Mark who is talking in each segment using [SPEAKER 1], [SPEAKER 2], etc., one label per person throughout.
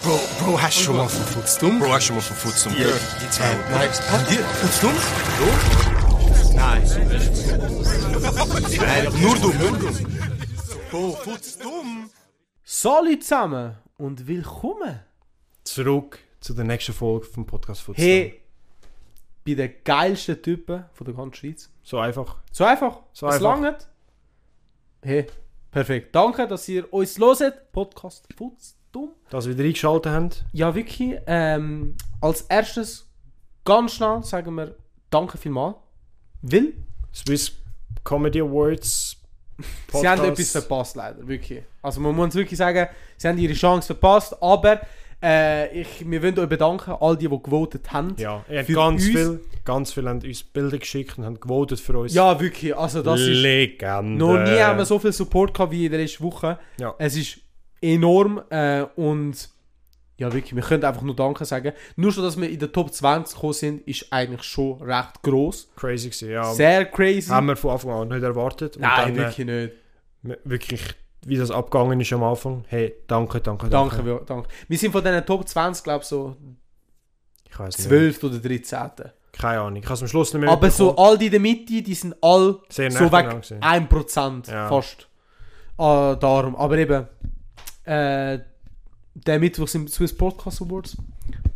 [SPEAKER 1] Bro, hast du schon mal von Futzdumm?
[SPEAKER 2] Bro, hast du schon mal von Futzum
[SPEAKER 1] Ja,
[SPEAKER 2] gehört?
[SPEAKER 1] die zwei.
[SPEAKER 2] Äh,
[SPEAKER 1] Nein, die? Futzdumm? Nein. Nein, doch nur dumm. Nur dumm. Bro, Futzdumm?
[SPEAKER 3] Salut zusammen und willkommen
[SPEAKER 4] zurück zu der nächsten Folge vom Podcast Footstone.
[SPEAKER 3] hey, bei den geilsten Typen von der ganzen Schweiz.
[SPEAKER 4] So einfach.
[SPEAKER 3] So einfach,
[SPEAKER 4] So
[SPEAKER 3] es
[SPEAKER 4] einfach.
[SPEAKER 3] langt. Hey, perfekt. Danke, dass ihr uns loset. Podcast Futzdumm.
[SPEAKER 4] Dass wir wieder eingeschaltet haben.
[SPEAKER 3] Ja, wirklich. Ähm, als erstes, ganz schnell sagen wir Danke vielmals. Will,
[SPEAKER 4] Swiss Comedy Awards.
[SPEAKER 3] sie haben
[SPEAKER 4] Podcast.
[SPEAKER 3] etwas verpasst, leider. Wirklich. Also, man muss wirklich sagen, sie haben ihre Chance verpasst, aber. Äh, ich, wir wollen euch bedanken, all die, die gewotet haben.
[SPEAKER 4] Ja, ihr habt
[SPEAKER 3] Für
[SPEAKER 4] ganz
[SPEAKER 3] uns-
[SPEAKER 4] viel, ganz viel haben uns Bilder geschickt und haben gewotet für uns.
[SPEAKER 3] Ja, wirklich. Also, das ist.
[SPEAKER 4] Legende.
[SPEAKER 3] Noch nie haben wir so viel Support gehabt wie in der letzten Woche.
[SPEAKER 4] Ja.
[SPEAKER 3] Es ist enorm äh, und ja wirklich, wir können einfach nur Danke sagen. Nur schon, dass wir in der Top 20 gekommen sind, ist eigentlich schon recht groß.
[SPEAKER 4] Crazy gewesen, ja.
[SPEAKER 3] Sehr crazy.
[SPEAKER 4] Haben wir von Anfang an nicht erwartet. Und
[SPEAKER 3] Nein,
[SPEAKER 4] dann, äh,
[SPEAKER 3] wirklich nicht.
[SPEAKER 4] wirklich, wie das abgegangen ist am Anfang. Hey, danke, danke, danke.
[SPEAKER 3] Danke, wir- danke. Wir sind von diesen Top 20, glaube ich, so
[SPEAKER 4] Ich weiß nicht.
[SPEAKER 3] 12. oder 13.
[SPEAKER 4] Keine Ahnung. Ich habe es am Schluss nicht mehr
[SPEAKER 3] Aber so
[SPEAKER 4] mitbekommen.
[SPEAKER 3] all die in der Mitte, die sind alle
[SPEAKER 4] Sehr
[SPEAKER 3] so
[SPEAKER 4] nah dran
[SPEAKER 3] weg
[SPEAKER 4] gewesen.
[SPEAKER 3] 1%
[SPEAKER 4] Ja.
[SPEAKER 3] fast. Ah, darum. Aber eben, äh, der Mittwoch sind Swiss Podcast Awards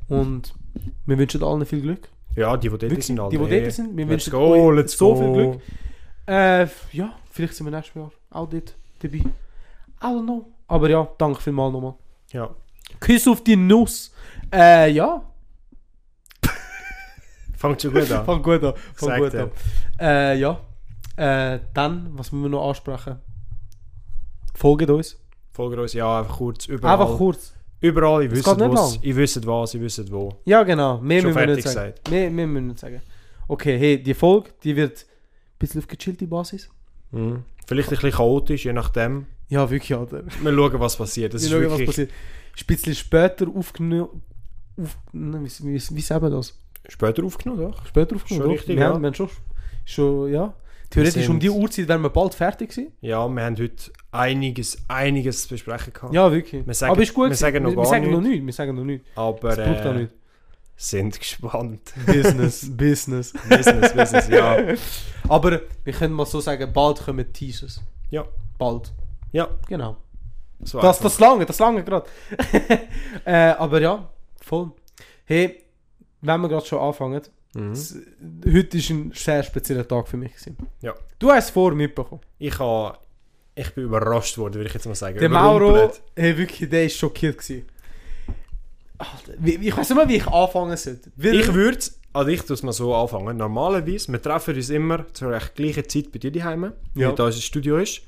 [SPEAKER 3] und wir wünschen allen viel Glück.
[SPEAKER 4] Ja, die, die dort
[SPEAKER 3] Wirklich,
[SPEAKER 4] sind,
[SPEAKER 3] die, die
[SPEAKER 4] hey.
[SPEAKER 3] dort sind, wir
[SPEAKER 4] Let's
[SPEAKER 3] wünschen
[SPEAKER 4] go,
[SPEAKER 3] euch
[SPEAKER 4] let's
[SPEAKER 3] so
[SPEAKER 4] go.
[SPEAKER 3] viel Glück. Äh, f- ja, vielleicht sind wir nächstes Jahr auch dort dabei. I don't know. Aber ja, danke vielmals nochmal.
[SPEAKER 4] Ja.
[SPEAKER 3] Küss auf die Nuss. Äh, ja,
[SPEAKER 4] Fangt so gut an.
[SPEAKER 3] fang gut an. Fang
[SPEAKER 4] Sagt
[SPEAKER 3] gut
[SPEAKER 4] er.
[SPEAKER 3] an. Äh, ja. Äh, dann, was müssen wir noch ansprechen? Folgt uns.
[SPEAKER 4] Folgt uns, ja, einfach kurz. Überall.
[SPEAKER 3] Einfach kurz.
[SPEAKER 4] Überall, ich wisst
[SPEAKER 3] geht nicht
[SPEAKER 4] was,
[SPEAKER 3] lang.
[SPEAKER 4] ich wisst was, ich wisst wo.
[SPEAKER 3] Ja, genau. Mehr
[SPEAKER 4] Schon
[SPEAKER 3] müssen wir nicht sagen.
[SPEAKER 4] fertig
[SPEAKER 3] Mehr, mehr müssen wir nicht sagen. Okay, hey, die Folge, die wird ein bisschen auf gechillte Basis. Mhm.
[SPEAKER 4] Vielleicht ein bisschen chaotisch, je nachdem.
[SPEAKER 3] Ja, wirklich, Alter.
[SPEAKER 4] Wir schauen, was passiert. Das
[SPEAKER 3] Wir
[SPEAKER 4] ist
[SPEAKER 3] schauen, was
[SPEAKER 4] wirklich
[SPEAKER 3] passiert. Ist ein bisschen später aufgenommen. Auf, nein, wie, wie, wie sagen wir das?
[SPEAKER 4] später aufgenommen, doch?
[SPEAKER 3] Später aufgenommen.
[SPEAKER 4] Schon
[SPEAKER 3] doch?
[SPEAKER 4] richtig,
[SPEAKER 3] wir
[SPEAKER 4] ja.
[SPEAKER 3] Haben, wir haben schon, schon, ja. Theoretisch
[SPEAKER 4] sind-
[SPEAKER 3] um die Uhrzeit wären wir bald fertig gewesen.
[SPEAKER 4] Ja, wir haben heute einiges, einiges zu besprechen gehabt.
[SPEAKER 3] Ja, wirklich.
[SPEAKER 4] Wir sagen-
[SPEAKER 3] Aber ist gut.
[SPEAKER 4] wir sagen
[SPEAKER 3] gewesen.
[SPEAKER 4] noch
[SPEAKER 3] wir,
[SPEAKER 4] gar
[SPEAKER 3] wir sagen noch
[SPEAKER 4] nichts.
[SPEAKER 3] nichts. Wir sagen noch nichts. Das
[SPEAKER 4] aber
[SPEAKER 3] braucht auch
[SPEAKER 4] äh,
[SPEAKER 3] nicht.
[SPEAKER 4] sind gespannt.
[SPEAKER 3] Business. Business.
[SPEAKER 4] Business, Business, ja.
[SPEAKER 3] Aber wir können mal so sagen, bald kommen Teasers.
[SPEAKER 4] Ja,
[SPEAKER 3] Bald.
[SPEAKER 4] ja.
[SPEAKER 3] Genau.
[SPEAKER 4] So
[SPEAKER 3] Das,
[SPEAKER 4] einfach.
[SPEAKER 3] das lange, das lange gerade. äh, aber ja, voll. Hey, wenn wir gerade schon anfangen,
[SPEAKER 4] Mhm.
[SPEAKER 3] s- heute ist ein sehr spezieller Tag für mich. Gewesen.
[SPEAKER 4] Ja.
[SPEAKER 3] Du hast es vorher mitbekommen.
[SPEAKER 4] Ich, ha, ich bin überrascht worden, würde ich jetzt mal sagen.
[SPEAKER 3] Der Mauro,
[SPEAKER 4] Überrumpelt.
[SPEAKER 3] hey, wirklich, der ist schockiert. Gewesen. Alter, wie- wie- Ich weiß nicht mal, wie ich anfangen sollte. Weil-
[SPEAKER 4] Ich würde, also ich es mal so anfangen. Normalerweise, wir treffen uns immer zur recht gleichen Zeit bei dir daheim,
[SPEAKER 3] Ja.
[SPEAKER 4] wie da unser Studio ist.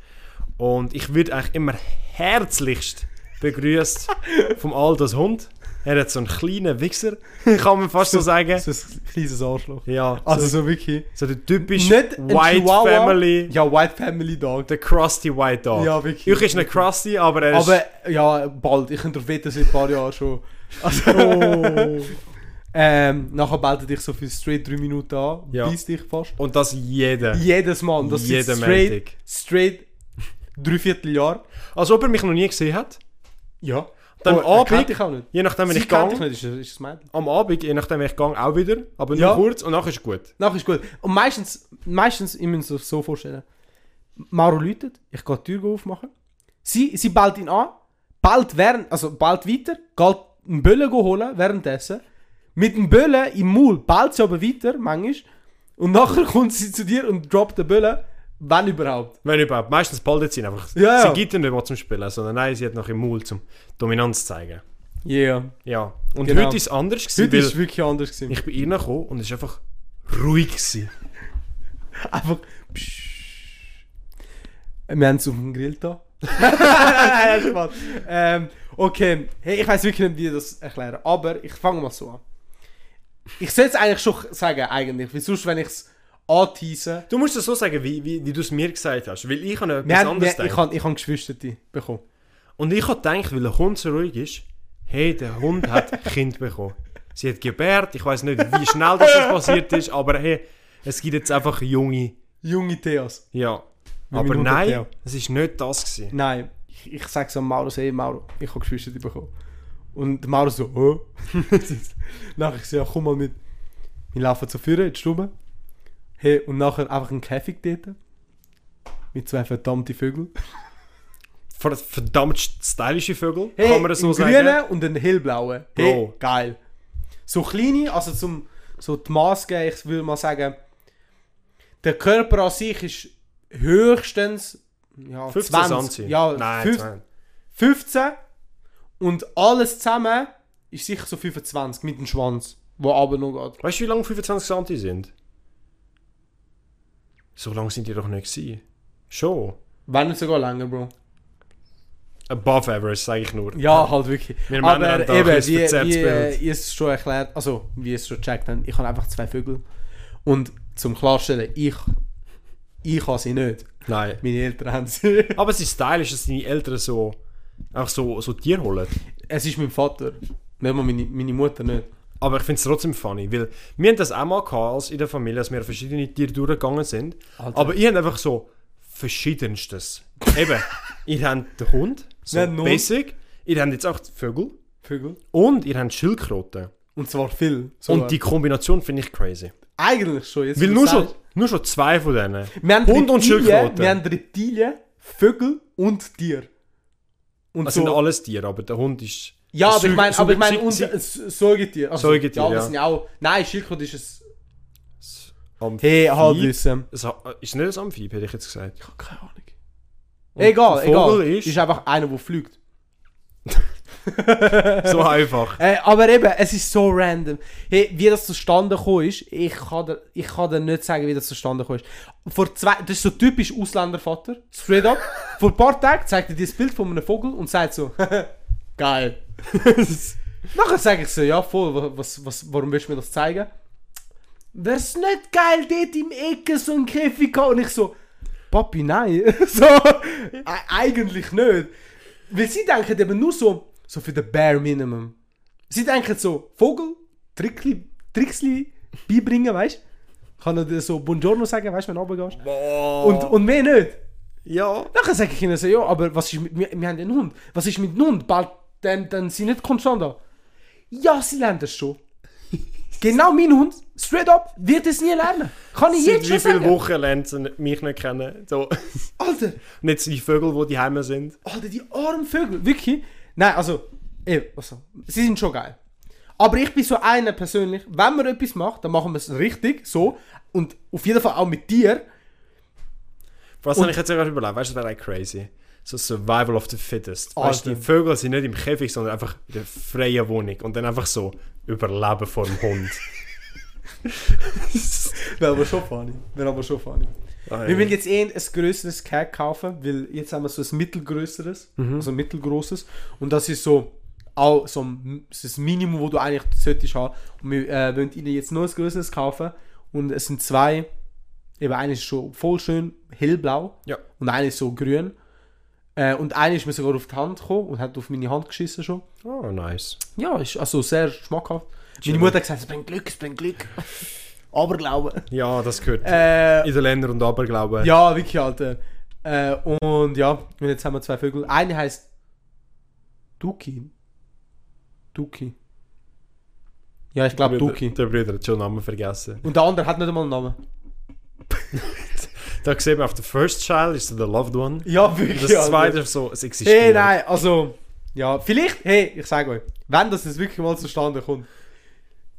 [SPEAKER 4] Und ich würde eigentlich immer herzlichst begrüßt vom Alders Hund. Er hat so einen kleinen Wichser, kann man fast so sagen.
[SPEAKER 3] so ein kleines Arschloch.
[SPEAKER 4] Ja,
[SPEAKER 3] Also
[SPEAKER 4] so,
[SPEAKER 3] so wirklich.
[SPEAKER 4] so der typische
[SPEAKER 3] Nicht ein
[SPEAKER 4] White
[SPEAKER 3] Chihuahua.
[SPEAKER 4] Family,
[SPEAKER 3] Ja, White Family Dog.
[SPEAKER 4] der Krusty White Dog.
[SPEAKER 3] Ja, wirklich.
[SPEAKER 4] Ich ist nicht Krusty, aber er ist...
[SPEAKER 3] Aber ja, bald. Ich könnte darauf wetten, seit ein paar Jahren schon. Also, ähm, nachher belt er dich so für straight 3 Minuten an,
[SPEAKER 4] Ja.
[SPEAKER 3] beißt dich fast.
[SPEAKER 4] Und das jeder.
[SPEAKER 3] Jedes Mal. Und Das sind
[SPEAKER 4] Jeden
[SPEAKER 3] straight,
[SPEAKER 4] Montag.
[SPEAKER 3] straight 3 Vierteljahr.
[SPEAKER 4] Als Also ob er mich noch nie gesehen hat.
[SPEAKER 3] Ja. Oh,
[SPEAKER 4] Dann
[SPEAKER 3] er
[SPEAKER 4] Abend-
[SPEAKER 3] kennt dich auch nicht.
[SPEAKER 4] Je nachdem, wenn
[SPEAKER 3] Sie
[SPEAKER 4] ich
[SPEAKER 3] kennt dich
[SPEAKER 4] gehe.
[SPEAKER 3] nicht, ist, ist das Mädchen.
[SPEAKER 4] Am Abend, je nachdem, wenn ich gehe, auch wieder. Aber nur
[SPEAKER 3] Ja.
[SPEAKER 4] kurz und nachher ist gut.
[SPEAKER 3] Nachher ist gut. Und meistens, meistens, ich muss es so vorstellen. Maro läutet, ich gehe die Tür aufmachen. Sie, sie bellt ihn an, bellt während, also bellt weiter, geht einen Böllen holen währenddessen. Mit dem Böllen im Maul bellt sie aber weiter, manchmal. Und nachher kommt sie zu dir und droppt den Böllen, wenn überhaupt.
[SPEAKER 4] Wenn überhaupt. Meistens baldet sie ihn einfach.
[SPEAKER 3] Ja,
[SPEAKER 4] sie
[SPEAKER 3] ja.
[SPEAKER 4] gibt ihn nicht mal zum Spielen, sondern nein, sie hat noch im Maul zum Dominanz zeigen.
[SPEAKER 3] Yeah.
[SPEAKER 4] Ja. Und
[SPEAKER 3] Genau.
[SPEAKER 4] heute ist es anders gewesen,
[SPEAKER 3] Heute
[SPEAKER 4] weil
[SPEAKER 3] war es wirklich anders. Gewesen.
[SPEAKER 4] ich bin reingekommen und es war einfach ruhig. Gewesen.
[SPEAKER 3] Einfach. Psch. Wir haben es auf dem Grill da. nein, nein, Spaß. ähm, okay, hey, ich weiß wirklich nicht, wie ich das erklären, aber ich fange mal so an. Ich sollte es eigentlich schon sagen, eigentlich, weil sonst, wenn ich es antease.
[SPEAKER 4] Du musst es so sagen, wie, wie, wie du es mir gesagt hast. Weil ich habe
[SPEAKER 3] Wir
[SPEAKER 4] etwas
[SPEAKER 3] haben,
[SPEAKER 4] anderes
[SPEAKER 3] wir, ich
[SPEAKER 4] gedacht.
[SPEAKER 3] habe ich hab Geschwister bekommen.
[SPEAKER 4] Und ich habe gedacht, weil der Hund so ruhig ist, hey, der Hund hat ein Kind bekommen. Sie hat gebärt. Ich weiß nicht, wie schnell das jetzt passiert ist, aber hey, es gibt jetzt einfach junge.
[SPEAKER 3] Junge Theos.
[SPEAKER 4] Ja.
[SPEAKER 3] Wie
[SPEAKER 4] aber
[SPEAKER 3] mein Hund hat
[SPEAKER 4] nein,
[SPEAKER 3] ja.
[SPEAKER 4] es war nicht das. Gewesen.
[SPEAKER 3] Nein, ich, ich sage es an Mauro, hey Mauro, ich habe Geschwister bekommen. Und der Mauro so, oh. nachher ich so, ja, komm mal mit. Wir laufen zu Führer in die Stube. Hey, und nachher einfach einen Käfig dort. Mit zwei verdammten Vögeln.
[SPEAKER 4] Ver- Verdammt stylische Vögel,
[SPEAKER 3] Hey,
[SPEAKER 4] kann man das so
[SPEAKER 3] einen
[SPEAKER 4] sagen?
[SPEAKER 3] grünen und einen hellblauen. Hey,
[SPEAKER 4] Bro.
[SPEAKER 3] geil. So kleine, also zum so die Maske, ich will mal sagen, der Körper an sich ist höchstens ja,
[SPEAKER 4] 15
[SPEAKER 3] 20,
[SPEAKER 4] Sanzi.
[SPEAKER 3] ja,
[SPEAKER 4] Nein,
[SPEAKER 3] fünf-
[SPEAKER 4] 20.
[SPEAKER 3] 15 und alles zusammen ist sicher so 25 mit dem Schwanz, wo aber noch geht.
[SPEAKER 4] Weißt du, wie lange 25 Santi sind? So lang sind die doch nicht gewesen. Schon.
[SPEAKER 3] Wenn nicht sogar länger, Bro.
[SPEAKER 4] Above average, sage ich nur.
[SPEAKER 3] Ja, halt wirklich.
[SPEAKER 4] Wir Männer haben
[SPEAKER 3] aber
[SPEAKER 4] da ein
[SPEAKER 3] eben,
[SPEAKER 4] bisschen
[SPEAKER 3] wie,
[SPEAKER 4] verzerrtes
[SPEAKER 3] wie äh,
[SPEAKER 4] Bild.
[SPEAKER 3] ihr es schon erklärt, also wie ihr es schon gecheckt habt, ich habe einfach zwei Vögel. Und zum Klarstellen, ich, ich habe sie nicht.
[SPEAKER 4] Nein.
[SPEAKER 3] Meine Eltern haben sie.
[SPEAKER 4] Aber es ist stylisch, dass deine Eltern so, einfach so, so Tier holen.
[SPEAKER 3] Es ist mein Vater, nicht mal meine, meine Mutter nicht.
[SPEAKER 4] Aber ich finde es trotzdem funny, weil wir haben das auch mal gehabt, als in der Familie, dass wir verschiedene Tiere durchgegangen sind.
[SPEAKER 3] Alter.
[SPEAKER 4] Aber ihr habt einfach so verschiedenstes. Eben, ihr habt den Hund, so
[SPEAKER 3] Wir haben einen Hund.
[SPEAKER 4] basic, ihr habt jetzt auch die Vögel
[SPEAKER 3] Vögel.
[SPEAKER 4] und ihr habt Schildkröten.
[SPEAKER 3] Und zwar viel.
[SPEAKER 4] Und die Kombination finde ich crazy.
[SPEAKER 3] eigentlich schon jetzt.
[SPEAKER 4] Weil
[SPEAKER 3] wo
[SPEAKER 4] nur
[SPEAKER 3] du
[SPEAKER 4] schon,
[SPEAKER 3] sagst.
[SPEAKER 4] nur schon zwei von denen.
[SPEAKER 3] Also Wir haben
[SPEAKER 4] Hund und
[SPEAKER 3] Reptilien,
[SPEAKER 4] Schildkröte.
[SPEAKER 3] Wir haben Reptilien, Vögel und Tier. Und
[SPEAKER 4] Das
[SPEAKER 3] so.
[SPEAKER 4] sind alles Tiere, aber der Hund ist...
[SPEAKER 3] ja, aber ich
[SPEAKER 4] Säug-
[SPEAKER 3] meine, aber ich meine,
[SPEAKER 4] Säug-
[SPEAKER 3] und
[SPEAKER 4] Säug-
[SPEAKER 3] äh, Säugetier. Also,
[SPEAKER 4] Säugetier,
[SPEAKER 3] ja. aber
[SPEAKER 4] ja.
[SPEAKER 3] es sind ja auch, nein, Schildkröte ist ein...
[SPEAKER 4] Amphi-
[SPEAKER 3] Hey, Halbwissen.
[SPEAKER 4] Es ha- Ist nicht ein Amphib, hätte ich jetzt gesagt.
[SPEAKER 3] Keine Ahnung.
[SPEAKER 4] Und
[SPEAKER 3] egal,
[SPEAKER 4] ein Vogel
[SPEAKER 3] egal.
[SPEAKER 4] ist-
[SPEAKER 3] Ist, einfach einer, der fliegt.
[SPEAKER 4] So einfach.
[SPEAKER 3] Äh, aber eben, es ist so random. Hey, wie das zustande gekommen ist, ich kann, dir, ich kann dir nicht sagen, wie das zustande gekommen ist. Vor zwei, das ist so typisch Ausländervater, straight up. Vor ein paar Tagen zeigt er dir das Bild von einem Vogel und sagt so, geil. Nachher sage ich so, ja voll, wa- was, was, warum willst du mir das zeigen? Wär's nicht geil, dort im Ecke so ein Käfig haben? Und ich so, Papi, nein. so, e- eigentlich nicht. Weil sie denken eben nur so, so für den bare minimum. Sie denken so, Vogel, Trickli, Tricksli beibringen, weißt du? Kann er dir so Buongiorno sagen, weißt du, wenn du runtergehst? Und, und mehr nicht.
[SPEAKER 4] ja.
[SPEAKER 3] Nachher sage ich ihnen so, ja, aber was ist mit, wir, wir haben einen Hund. Was ist mit dem Hund? Bald, dann, dann sind nicht konstant da. Ja, sie lernen das schon. genau mein Hund, straight up, wird es nie lernen. Kann ich
[SPEAKER 4] Seit
[SPEAKER 3] jetzt
[SPEAKER 4] wie
[SPEAKER 3] schon
[SPEAKER 4] viele
[SPEAKER 3] sagen.
[SPEAKER 4] Wochen lernt sie mich nicht kennen? So.
[SPEAKER 3] Alter,
[SPEAKER 4] nicht so die Vögel, die daheim sind.
[SPEAKER 3] Alter, die armen Vögel, wirklich. Nein, also, ey, also, sie sind schon geil. Aber ich bin so einer persönlich, wenn man etwas macht, dann machen wir es richtig, so. Und auf jeden Fall auch mit dir.
[SPEAKER 4] Was habe ich jetzt gerade überlegt? Weißt du, das wäre like crazy. So Survival of the Fittest. Weißt du, die
[SPEAKER 3] Alter.
[SPEAKER 4] Vögel sind nicht im Käfig, sondern einfach in der freien Wohnung. Und dann einfach so Überleben vor dem Hund.
[SPEAKER 3] Wäre aber schon funny. Wäre aber schon funny. Wir
[SPEAKER 4] Nein.
[SPEAKER 3] wollen jetzt eh ein größeres Cake kaufen, weil jetzt haben wir so ein mittelgrößeres, also ein mittelgroßes. Und das ist so auch so ein, das ist das Minimum, wo du eigentlich solltest haben. Und wir äh, wollen ihnen jetzt noch ein größeres kaufen. Und es sind zwei, eben eine ist schon voll schön hellblau
[SPEAKER 4] Ja.
[SPEAKER 3] und eine ist so grün. Äh, und eine ist mir sogar auf die Hand gekommen und hat auf meine Hand geschissen schon.
[SPEAKER 4] Oh, nice.
[SPEAKER 3] Ja, ist also sehr schmackhaft.
[SPEAKER 4] Chillig.
[SPEAKER 3] Meine Mutter hat gesagt, es bringt Glück, es bringt Glück. Aberglauben.
[SPEAKER 4] Ja, das gehört.
[SPEAKER 3] Äh,
[SPEAKER 4] Italiener und Aberglauben.
[SPEAKER 3] Ja, wirklich, Alter. Äh, und ja, und jetzt haben wir zwei Vögel. Eine heißt Duki. Duki. Ja, ich glaube Duki.
[SPEAKER 4] Der Bruder hat schon den Namen nou, vergessen.
[SPEAKER 3] Und der andere hat nicht einmal einen Namen.
[SPEAKER 4] Da sieht man auf der First Child ist so der Loved One.
[SPEAKER 3] Ja,
[SPEAKER 4] Und
[SPEAKER 3] wirklich.
[SPEAKER 4] das zweite ist so, es existiert.
[SPEAKER 3] Hey, nein, also. Ja, vielleicht, hey, ich sage euch, wenn das jetzt wirklich mal zustande kommt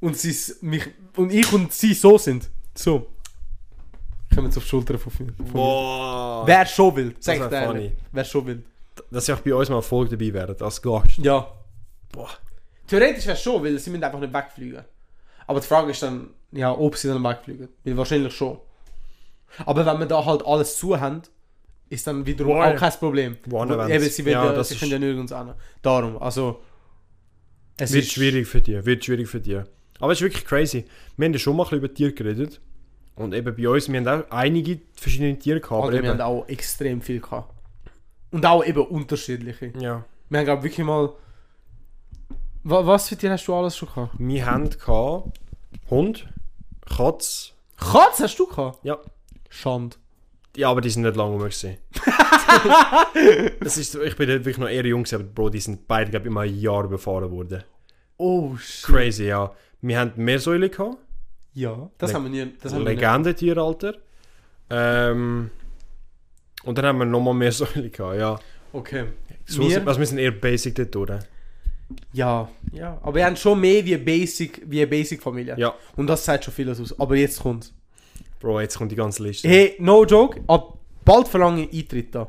[SPEAKER 3] und, sie s- mich, und ich und sie so sind, so, kommen jetzt auf die Schulter von, von mir.
[SPEAKER 4] Boah.
[SPEAKER 3] Wer schon will, sag ich
[SPEAKER 4] wär
[SPEAKER 3] dir ehrlich.
[SPEAKER 4] funny.
[SPEAKER 3] Wer schon will.
[SPEAKER 4] Dass ich auch bei uns mal Folge dabei werde, als Gast.
[SPEAKER 3] Ja.
[SPEAKER 4] Boah.
[SPEAKER 3] Theoretisch wäre es schon, weil sie müssen einfach nicht wegfliegen. Aber die Frage ist dann, ja, ob sie dann wegfliegen. Weil wahrscheinlich schon. Aber wenn wir da halt alles zu haben, ist dann wiederum
[SPEAKER 4] Boah.
[SPEAKER 3] auch kein Problem.
[SPEAKER 4] One
[SPEAKER 3] Weil
[SPEAKER 4] events.
[SPEAKER 3] Eben, sie, werden
[SPEAKER 4] Ja,
[SPEAKER 3] ja,
[SPEAKER 4] das
[SPEAKER 3] sie
[SPEAKER 4] ist-
[SPEAKER 3] können ja nirgends hin. Darum, also... Es
[SPEAKER 4] wird schwierig für dich, wird schwierig für dich. Aber es ist wirklich crazy. Wir haben ja schon mal ein bisschen über Tiere geredet. Und eben bei uns, wir haben auch einige verschiedene Tiere gehabt.
[SPEAKER 3] Alter,
[SPEAKER 4] Aber
[SPEAKER 3] halt, wir haben
[SPEAKER 4] eben,
[SPEAKER 3] auch extrem viel gehabt. Und auch eben unterschiedliche.
[SPEAKER 4] ja.
[SPEAKER 3] Wir haben, glaube wirklich mal... Wa- Was für Tiere hast du alles schon gehabt?
[SPEAKER 4] Wir haben gehabt Hund, Katz,
[SPEAKER 3] Katze hast du gehabt?
[SPEAKER 4] ja.
[SPEAKER 3] Schande.
[SPEAKER 4] Ja, aber die sind nicht lange mehr gewesen. das ist, so- ich bin dort wirklich noch eher jung, gewesen, aber Bro, die sind beide, glaube ich, immer ein Jahr überfahren worden.
[SPEAKER 3] Oh, shit.
[SPEAKER 4] Crazy, ja. Wir haben mehr Säule gehabt.
[SPEAKER 3] Ja, das
[SPEAKER 4] Leg-
[SPEAKER 3] haben wir nie. Das haben wir nie.
[SPEAKER 4] Legende-Tieralter. Ähm, und dann haben wir nochmal mehr Säule gehabt, ja.
[SPEAKER 3] Okay.
[SPEAKER 4] So,
[SPEAKER 3] Wir-
[SPEAKER 4] sind- also wir sind eher basic dort, oder?
[SPEAKER 3] Ja, ja. Aber wir haben schon mehr wie eine Basic, wie eine Basic Familie.
[SPEAKER 4] Ja.
[SPEAKER 3] Und das zeigt schon vieles aus. Aber jetzt kommt's.
[SPEAKER 4] Bro, jetzt kommt die ganze Liste.
[SPEAKER 3] Hey, no joke, ab bald verlange ich Eintritt da.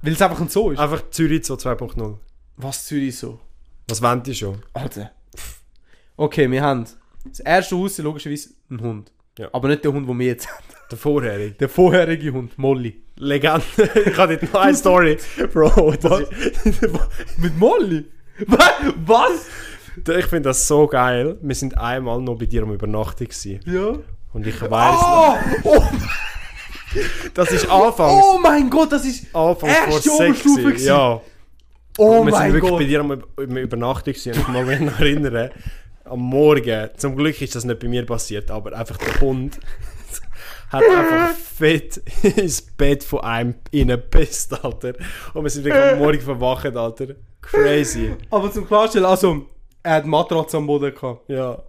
[SPEAKER 3] Weil es einfach ein so ist.
[SPEAKER 4] Einfach Zürich so 2.0.
[SPEAKER 3] Was Zürich so?
[SPEAKER 4] Was wollt ihr schon?
[SPEAKER 3] Alter. Pff. Okay, wir haben das erste Haus ist logischerweise ein Hund.
[SPEAKER 4] Ja.
[SPEAKER 3] Aber nicht der Hund, den wir jetzt haben.
[SPEAKER 4] Der vorherige.
[SPEAKER 3] Der vorherige Hund, Molly.
[SPEAKER 4] Legende. ich habe dort noch eine Story. Bro, das
[SPEAKER 3] Mit Molly? Was? Was?
[SPEAKER 4] Da- Ich finde das so geil. Wir sind einmal noch bei dir am Übernachtung gewesen.
[SPEAKER 3] Ja.
[SPEAKER 4] Und ich weiß
[SPEAKER 3] Oh, oh,
[SPEAKER 4] noch, das ist anfangs.
[SPEAKER 3] oh mein Gott, das ist.
[SPEAKER 4] Anfangs vor
[SPEAKER 3] erste
[SPEAKER 4] sechs.
[SPEAKER 3] Oberstufe
[SPEAKER 4] gewesen. Ja.
[SPEAKER 3] Oh
[SPEAKER 4] wir sind
[SPEAKER 3] mein
[SPEAKER 4] wirklich
[SPEAKER 3] Gott.
[SPEAKER 4] bei dir am Üb- am Übernachtung gewesen. Und ich mag mich noch erinnern, am Morgen, zum Glück ist das nicht bei mir passiert, aber einfach der Hund hat einfach fett ins Bett von einem reingepisst, Alter. Und wir sind wirklich am Morgen verwacht, Alter. Crazy.
[SPEAKER 3] Aber zum Klarstellen, also, er hat Matratze am Boden gehabt.
[SPEAKER 4] Ja.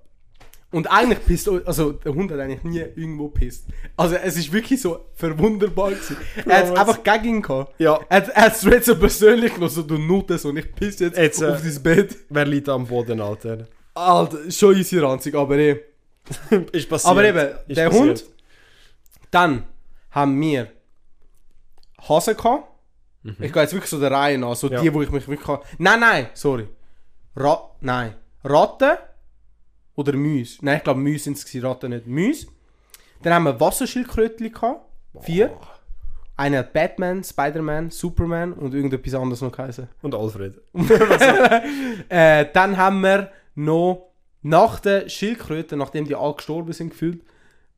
[SPEAKER 3] Und eigentlich pisst, also der Hund hat eigentlich nie irgendwo pisst. Also es ist wirklich so verwunderbar gewesen. Er hat
[SPEAKER 4] Bro,
[SPEAKER 3] einfach gegen ihn gehabt.
[SPEAKER 4] Ja.
[SPEAKER 3] Er hat- er hat es jetzt so persönlich noch so, du Nutes und ich piss jetzt,
[SPEAKER 4] Jetzt, äh,
[SPEAKER 3] auf dein Bett.
[SPEAKER 4] Wer liegt am Boden, Alter?
[SPEAKER 3] Alter, schon easy ranzig, aber eh.
[SPEAKER 4] Ist passiert.
[SPEAKER 3] Aber eben,
[SPEAKER 4] Ist
[SPEAKER 3] der
[SPEAKER 4] passiert.
[SPEAKER 3] Hund. Dann haben wir Hasen gehabt. Ich gehe jetzt wirklich so der Reihe nach, so
[SPEAKER 4] Ja.
[SPEAKER 3] die, wo ich mich wirklich. kann- Nein, nein, sorry. Ra nein. Ratten oder Müs? Nein, ich glaube Müs sind es, Ratten nicht. Müs. Dann haben wir Wasserschildkrötchen gehabt. Vier. Einer hat Batman, Spider-Man, Superman und irgendetwas anderes noch geheißen.
[SPEAKER 4] Und Alfred.
[SPEAKER 3] Äh, dann haben wir noch nach den Schildkröten, nachdem die alle gestorben sind, gefühlt.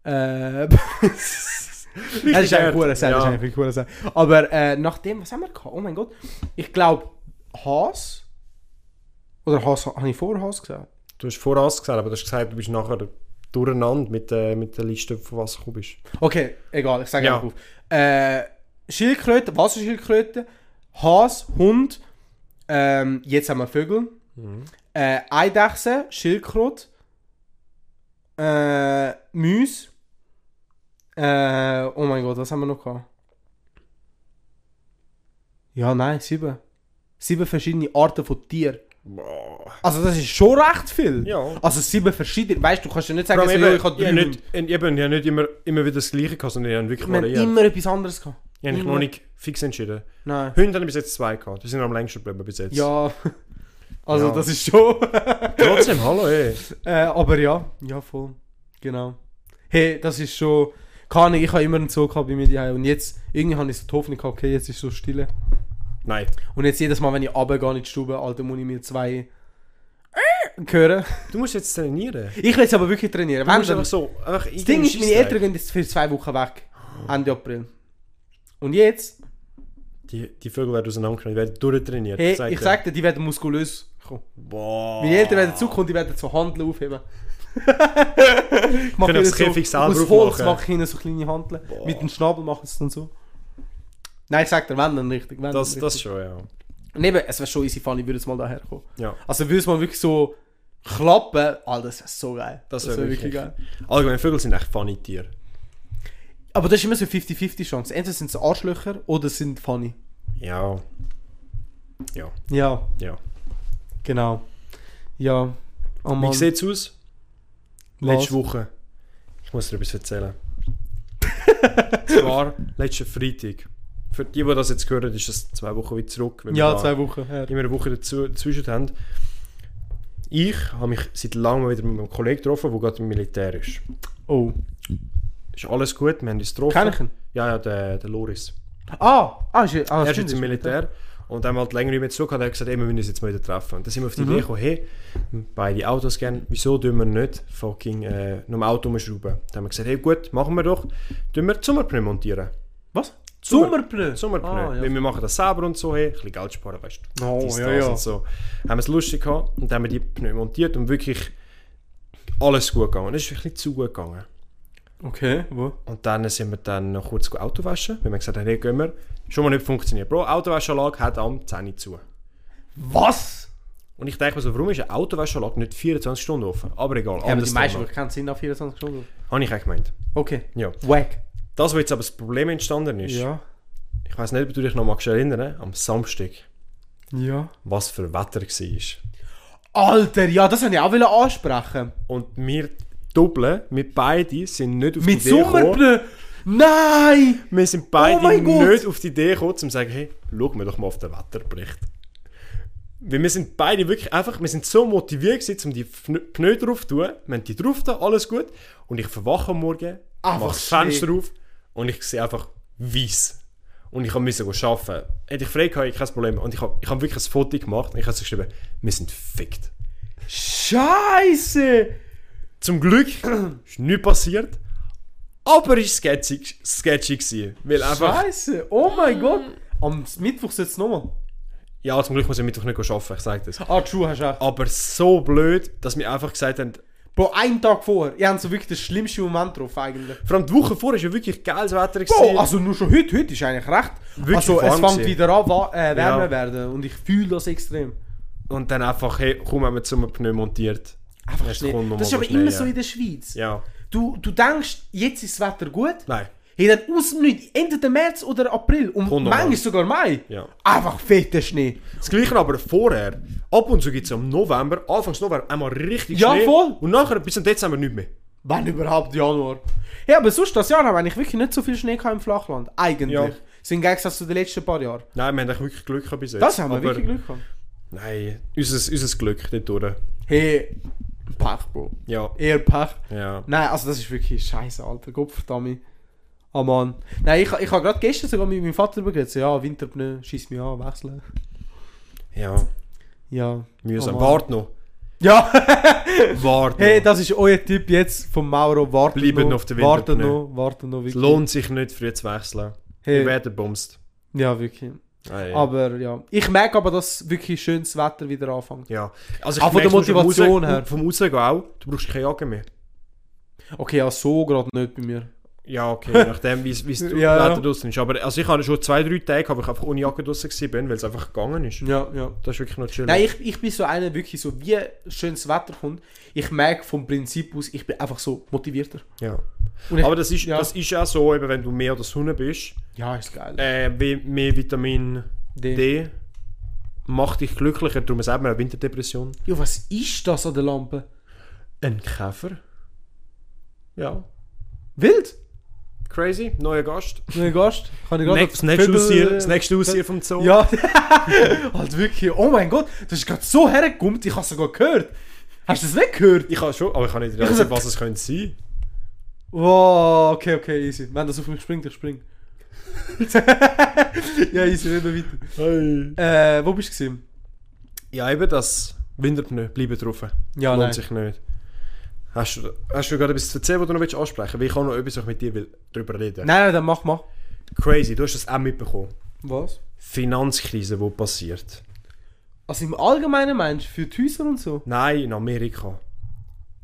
[SPEAKER 3] Äh, das ist
[SPEAKER 4] hart.
[SPEAKER 3] eigentlich cool, das ist
[SPEAKER 4] Ja.
[SPEAKER 3] eigentlich cool. Aber äh, nachdem, was haben wir gehabt? Oh mein Gott. Ich glaube, Haas. Oder Haas, habe ich vor Haas gesagt?
[SPEAKER 4] Du hast voraus gesagt, aber du hast gesagt, du bist nachher durcheinander mit, der- mit der Liste, von was du gekommen bist.
[SPEAKER 3] Okay, egal, ich sage
[SPEAKER 4] Ja.
[SPEAKER 3] einfach auf. Äh, Schildkröte, Wasserschildkröte, Has, Hund, ähm, jetzt haben wir Vögel,
[SPEAKER 4] Mhm.
[SPEAKER 3] äh, Eidechse, Schildkröte, äh, Müs, äh, oh mein Gott, was haben wir noch gehabt? Ja, nein, sieben. Sieben verschiedene Arten von Tieren. Also das ist schon recht viel.
[SPEAKER 4] Ja.
[SPEAKER 3] Also sieben verschiedene, weißt du, du kannst ja nicht sagen,
[SPEAKER 4] Vor allem
[SPEAKER 3] so, ja,
[SPEAKER 4] eben,
[SPEAKER 3] ich habe
[SPEAKER 4] ich
[SPEAKER 3] drei
[SPEAKER 4] habe nicht, ich eben, ich habe nicht immer, immer wieder das Gleiche gehabt, sondern ich habe wirklich
[SPEAKER 3] wir haben
[SPEAKER 4] variiert.
[SPEAKER 3] immer etwas anderes gehabt.
[SPEAKER 4] ich habe mich noch
[SPEAKER 3] immer-
[SPEAKER 4] nicht fix entschieden.
[SPEAKER 3] Nein.
[SPEAKER 4] Hunde haben bis jetzt zwei gehabt. Die sind am längsten geblieben bis jetzt.
[SPEAKER 3] Ja. Also
[SPEAKER 4] Ja.
[SPEAKER 3] das ist schon.
[SPEAKER 4] Trotzdem, hallo ey.
[SPEAKER 3] äh, aber ja, ja voll. Genau. Hey, das ist schon. Keine Ahnung, ich habe immer einen Zoo gehabt bei mir die Und jetzt, irgendwie habe ich so die Hoffnung gehabt, okay, jetzt ist so stille.
[SPEAKER 4] Nein.
[SPEAKER 3] Und jetzt jedes Mal, wenn ich runtergehe in die Stube, Alter, muss ich mir zwei hören.
[SPEAKER 4] Du musst jetzt trainieren. Du
[SPEAKER 3] Ich will es aber wirklich trainieren. Wenn
[SPEAKER 4] musst
[SPEAKER 3] dann-
[SPEAKER 4] einfach so... Einfach
[SPEAKER 3] das Ding ist, meine Eltern gehen jetzt für zwei Wochen weg. Ende April. Und jetzt,
[SPEAKER 4] Die, die Vögel werden auseinandergenommen, die werden durchtrainiert.
[SPEAKER 3] hey,
[SPEAKER 4] sag
[SPEAKER 3] ich
[SPEAKER 4] dir.
[SPEAKER 3] sag dir, die werden muskulös kommen.
[SPEAKER 4] Boah.
[SPEAKER 3] Meine Eltern werden zukommen, die werden so Handeln aufheben. ich mache
[SPEAKER 4] Können das Käfig selber
[SPEAKER 3] aus Holz
[SPEAKER 4] aufmachen?
[SPEAKER 3] mache ich ihnen so kleine Handeln. Mit dem Schnabel machen sie es dann so. Nein, ich sag dir, wenn dann richtig. Wenn
[SPEAKER 4] Das,
[SPEAKER 3] dann
[SPEAKER 4] das
[SPEAKER 3] richtig.
[SPEAKER 4] schon, ja.
[SPEAKER 3] Und eben, es wäre schon easy funny, würde es mal daher kommen.
[SPEAKER 4] ja.
[SPEAKER 3] Also würde es mal wirklich so klappen, Alter, das wäre so geil.
[SPEAKER 4] Das
[SPEAKER 3] wär
[SPEAKER 4] wäre wirklich Allgemein, Vögel sind echt funny Tiere.
[SPEAKER 3] Aber das ist immer so eine 50-50 Chance. Entweder sind es Arschlöcher oder es sind funny.
[SPEAKER 4] Ja. Ja.
[SPEAKER 3] Ja,
[SPEAKER 4] Ja.
[SPEAKER 3] genau. Ja. Oh
[SPEAKER 4] Wie
[SPEAKER 3] Mann.
[SPEAKER 4] sieht's aus?
[SPEAKER 3] Was?
[SPEAKER 4] Letzte Woche. Ich muss dir etwas erzählen. Zwar letzten Freitag. Für die, die das jetzt hören, ist das zwei Wochen wieder zurück. weil wir
[SPEAKER 3] Ja,
[SPEAKER 4] da
[SPEAKER 3] zwei Wochen her.
[SPEAKER 4] Immer eine Woche dazu, dazwischen haben. Ich habe mich seit langem wieder mit meinem Kollegen getroffen, der gerade im Militär ist.
[SPEAKER 3] Oh.
[SPEAKER 4] Ist alles gut, wir haben uns getroffen.
[SPEAKER 3] Kenn ich ihn?
[SPEAKER 4] Ja, ja, der, der Loris.
[SPEAKER 3] Ah, ah, ist, ah
[SPEAKER 4] er ist
[SPEAKER 3] stimmt,
[SPEAKER 4] jetzt im Militär. Und dann haben wir halt länger nicht mehr zurückgehauen. Er hat gesagt, ey, wir müssen uns jetzt mal wieder treffen. Und dann sind wir auf die
[SPEAKER 3] Mhm.
[SPEAKER 4] Idee gekommen, hey, beide Autos gerne, wieso tun wir nicht fucking äh, noch ein Auto umschrauben? Dann haben wir gesagt, hey, gut, machen wir doch. Tun wir die Sommerpneu montieren.
[SPEAKER 3] Was? Sommerpneu?
[SPEAKER 4] Sommerpneu? Sommerpneu.
[SPEAKER 3] Ah, ja.
[SPEAKER 4] Weil wir machen das selber und so, hey, ein bisschen Geld sparen, weißt du.
[SPEAKER 3] Oh,
[SPEAKER 4] dies,
[SPEAKER 3] ja,
[SPEAKER 4] das
[SPEAKER 3] ja.
[SPEAKER 4] Und so. Haben wir es lustig gehabt und dann haben wir die Pneu montiert und wirklich alles gut gegangen. Es ist ein bisschen zu gut gegangen.
[SPEAKER 3] Okay, wo?
[SPEAKER 4] Und dann sind wir dann noch kurz Auto waschen. Wir haben gesagt, hey, gehen wir. Schon mal nicht funktioniert. Bro, Autowaschanlage hat am 10 Uhr zu.
[SPEAKER 3] Was?
[SPEAKER 4] Und ich denke mir so, warum ist eine Autowaschanlage nicht 24 Stunden offen? Aber egal,
[SPEAKER 3] Ja, aber die
[SPEAKER 4] anderes
[SPEAKER 3] meisten
[SPEAKER 4] Thema.
[SPEAKER 3] wirklich keinen Sinn nach 24 Stunden.
[SPEAKER 4] Habe ich auch gemeint.
[SPEAKER 3] Okay.
[SPEAKER 4] Ja.
[SPEAKER 3] Wack.
[SPEAKER 4] Das, wo jetzt aber das Problem entstanden ist, ich weiß nicht, ob du dich noch magst erinnern, am Samstag,
[SPEAKER 3] Ja.
[SPEAKER 4] was für Wetter war.
[SPEAKER 3] Alter, ja, das wollte ich auch wollen ansprechen.
[SPEAKER 4] Und wir doppeln, wir beide sind nicht auf
[SPEAKER 3] Mit
[SPEAKER 4] die Idee gekommen.
[SPEAKER 3] Sommerblö. Nein!
[SPEAKER 4] Wir sind beide
[SPEAKER 3] Oh mein Gott!
[SPEAKER 4] nicht auf die Idee gekommen, um zu sagen, hey, schau mir doch mal auf den Wetterbericht. Weil wir sind beide wirklich einfach, wir sind so motiviert gewesen, um die Pfn- Pneu drauf zu tun. Wir haben die drauf da, alles gut. Und ich verwache am Morgen,
[SPEAKER 3] Einfach
[SPEAKER 4] mache das
[SPEAKER 3] Schnee.
[SPEAKER 4] Fenster auf und ich sehe einfach weiß. Und ich musste müssen arbeiten. Hätte ich frei gehabt, hätte ich kein Problem. Und ich habe ich hab wirklich ein Foto gemacht und ich habe geschrieben, wir sind fickt.
[SPEAKER 3] Scheiße!
[SPEAKER 4] Zum Glück ist nichts passiert, aber es war sketchy, sketchy gewesen, weil einfach...
[SPEAKER 3] Scheiße! Oh mein Gott! Am Mittwoch sitzt es nochmal.
[SPEAKER 4] Ja, zum Glück muss ich am Mittwoch nicht arbeiten, ich sage das.
[SPEAKER 3] Ah, true, hast du recht.
[SPEAKER 4] Aber so blöd, dass wir einfach gesagt haben,
[SPEAKER 3] Bro, einen Tag vorher. Ihr habt so wirklich den schlimmsten Moment drauf eigentlich.
[SPEAKER 4] vor allem die Woche vorher war ja wirklich geiles Wetter.
[SPEAKER 3] Bro,
[SPEAKER 4] gewesen.
[SPEAKER 3] also nur schon heute. Heute ist eigentlich recht.
[SPEAKER 4] Wirklich
[SPEAKER 3] also es
[SPEAKER 4] warm
[SPEAKER 3] fängt
[SPEAKER 4] gewesen.
[SPEAKER 3] wieder an, wa- äh, wärmer
[SPEAKER 4] Ja.
[SPEAKER 3] werden. Und ich fühle das extrem.
[SPEAKER 4] Und dann einfach, hey, komm, haben wir zum Pneu montiert.
[SPEAKER 3] Einfach
[SPEAKER 4] Es
[SPEAKER 3] Schnee.
[SPEAKER 4] kommt noch
[SPEAKER 3] Das ist
[SPEAKER 4] mal
[SPEAKER 3] aber
[SPEAKER 4] Schnee,
[SPEAKER 3] immer
[SPEAKER 4] ja.
[SPEAKER 3] so in der Schweiz.
[SPEAKER 4] Ja,
[SPEAKER 3] Du, du denkst, jetzt ist das Wetter gut.
[SPEAKER 4] nein.
[SPEAKER 3] Hey, dann aus dem Nichts, entweder März oder April und
[SPEAKER 4] Kommt noch
[SPEAKER 3] manchmal
[SPEAKER 4] mal.
[SPEAKER 3] sogar Mai.
[SPEAKER 4] Ja.
[SPEAKER 3] Einfach fetter Schnee.
[SPEAKER 4] Das gleiche aber vorher. Ab und zu gibt es im November, Anfangs November, einmal richtig
[SPEAKER 3] Ja,
[SPEAKER 4] Schnee.
[SPEAKER 3] voll.
[SPEAKER 4] Und nachher bis zum Dezember nicht mehr.
[SPEAKER 3] Wenn überhaupt Januar. Ja, aber sonst das Jahr habe ich wirklich nicht so viel Schnee gehabt im Flachland. Eigentlich.
[SPEAKER 4] Ja.
[SPEAKER 3] So im Gegensatz zu den letzten paar Jahren.
[SPEAKER 4] Nein, wir haben echt wirklich Glück gehabt bis jetzt.
[SPEAKER 3] Das haben wir
[SPEAKER 4] aber,
[SPEAKER 3] wirklich Glück gehabt.
[SPEAKER 4] Nein, unser, unser Glück dort durch.
[SPEAKER 3] Hey, Pech, Bro.
[SPEAKER 4] Ja,
[SPEAKER 3] Eher Pech.
[SPEAKER 4] ja.
[SPEAKER 3] Nein, also das ist wirklich scheiße, Alter. Gottverdammt. Oh Mann. Nein, ich, ich habe gerade gestern sogar mit meinem Vater darüber geredet. So, ja, Winterpneu, schieß mich an, wechseln.
[SPEAKER 4] Ja,
[SPEAKER 3] Ja.
[SPEAKER 4] mühsam.
[SPEAKER 3] Oh Mann.
[SPEAKER 4] Wart noch.
[SPEAKER 3] Ja!
[SPEAKER 4] Wart noch.
[SPEAKER 3] Hey, das ist euer Tipp jetzt vom Mauro. Warten
[SPEAKER 4] Bleibt
[SPEAKER 3] noch,
[SPEAKER 4] noch auf der
[SPEAKER 3] warten
[SPEAKER 4] Winterpneu.
[SPEAKER 3] noch, warten noch.
[SPEAKER 4] es
[SPEAKER 3] Wirklich.
[SPEAKER 4] lohnt sich nicht, früh zu wechseln. Wir
[SPEAKER 3] Hey.
[SPEAKER 4] werden bumst.
[SPEAKER 3] Ja, wirklich.
[SPEAKER 4] Nein.
[SPEAKER 3] Aber ja. Ich merke aber, dass wirklich schönes Wetter wieder anfängt.
[SPEAKER 4] Ja. Also
[SPEAKER 3] Auch von der
[SPEAKER 4] merk's, du musst vom
[SPEAKER 3] Motivation
[SPEAKER 4] Raus-
[SPEAKER 3] her.
[SPEAKER 4] Vom Rausgehen auch, du brauchst keine Jacke mehr.
[SPEAKER 3] Okay, ja, so gerade nicht bei mir.
[SPEAKER 4] Ja, okay, je nachdem, wie es wie es
[SPEAKER 3] Ja,
[SPEAKER 4] Wetter
[SPEAKER 3] ja.
[SPEAKER 4] draussen ist. Aber also ich hatte schon zwei, drei Tage, wo ich einfach ohne Jacke draussen war, weil es einfach gegangen ist.
[SPEAKER 3] Ja, ja.
[SPEAKER 4] Das ist wirklich noch chill.
[SPEAKER 3] Nein, ich, ich bin so einer, wirklich so, wie schönes Wetter kommt, ich merke vom Prinzip aus, ich bin einfach so motivierter.
[SPEAKER 4] ja.
[SPEAKER 3] Und ich,
[SPEAKER 4] Aber das ist,
[SPEAKER 3] ja.
[SPEAKER 4] das ist auch so, eben, wenn du mehr an der Sonne bist,
[SPEAKER 3] ja, ist geil.
[SPEAKER 4] äh, wie- mehr Vitamin
[SPEAKER 3] D.
[SPEAKER 4] D macht dich glücklicher. Darum sagt man auch Winterdepression.
[SPEAKER 3] Ja, was ist das an der Lampe?
[SPEAKER 4] Ein Käfer. Ja.
[SPEAKER 3] Wild?
[SPEAKER 4] Crazy, neuer Gast.
[SPEAKER 3] Neuer Gast? Kann ich
[SPEAKER 4] Next- Das nächste Aussier- das nächste Aussier vom Zoo.
[SPEAKER 3] Ja, halt wirklich. Oh mein Gott, das ist gerade so hergekommen, ich habe es sogar gehört. Hast du das nicht gehört?
[SPEAKER 4] Ich habe schon, aber ich habe nicht realisiert, was es könnte sein.
[SPEAKER 3] Wow, okay, okay, easy. Wenn das auf mich springt, ich spring. ja, easy, reden
[SPEAKER 4] Hey.
[SPEAKER 3] weiter. Äh, wo bist du gewesen?
[SPEAKER 4] Ja, eben das Winterpneu, bleiben drauf.
[SPEAKER 3] Ja,
[SPEAKER 4] Lohnt
[SPEAKER 3] nein.
[SPEAKER 4] sich nicht. Hast du, hast du gerade etwas zu erzählen, was du noch willst ansprechen willst? Ich kann noch etwas was ich mit dir will, darüber reden
[SPEAKER 3] Nein, nein, dann mach, mach.
[SPEAKER 4] Crazy, du hast das auch mitbekommen.
[SPEAKER 3] Was?
[SPEAKER 4] Finanzkrise, die passiert.
[SPEAKER 3] Also im Allgemeinen meinst du, für die Häuser und so?
[SPEAKER 4] Nein, in Amerika.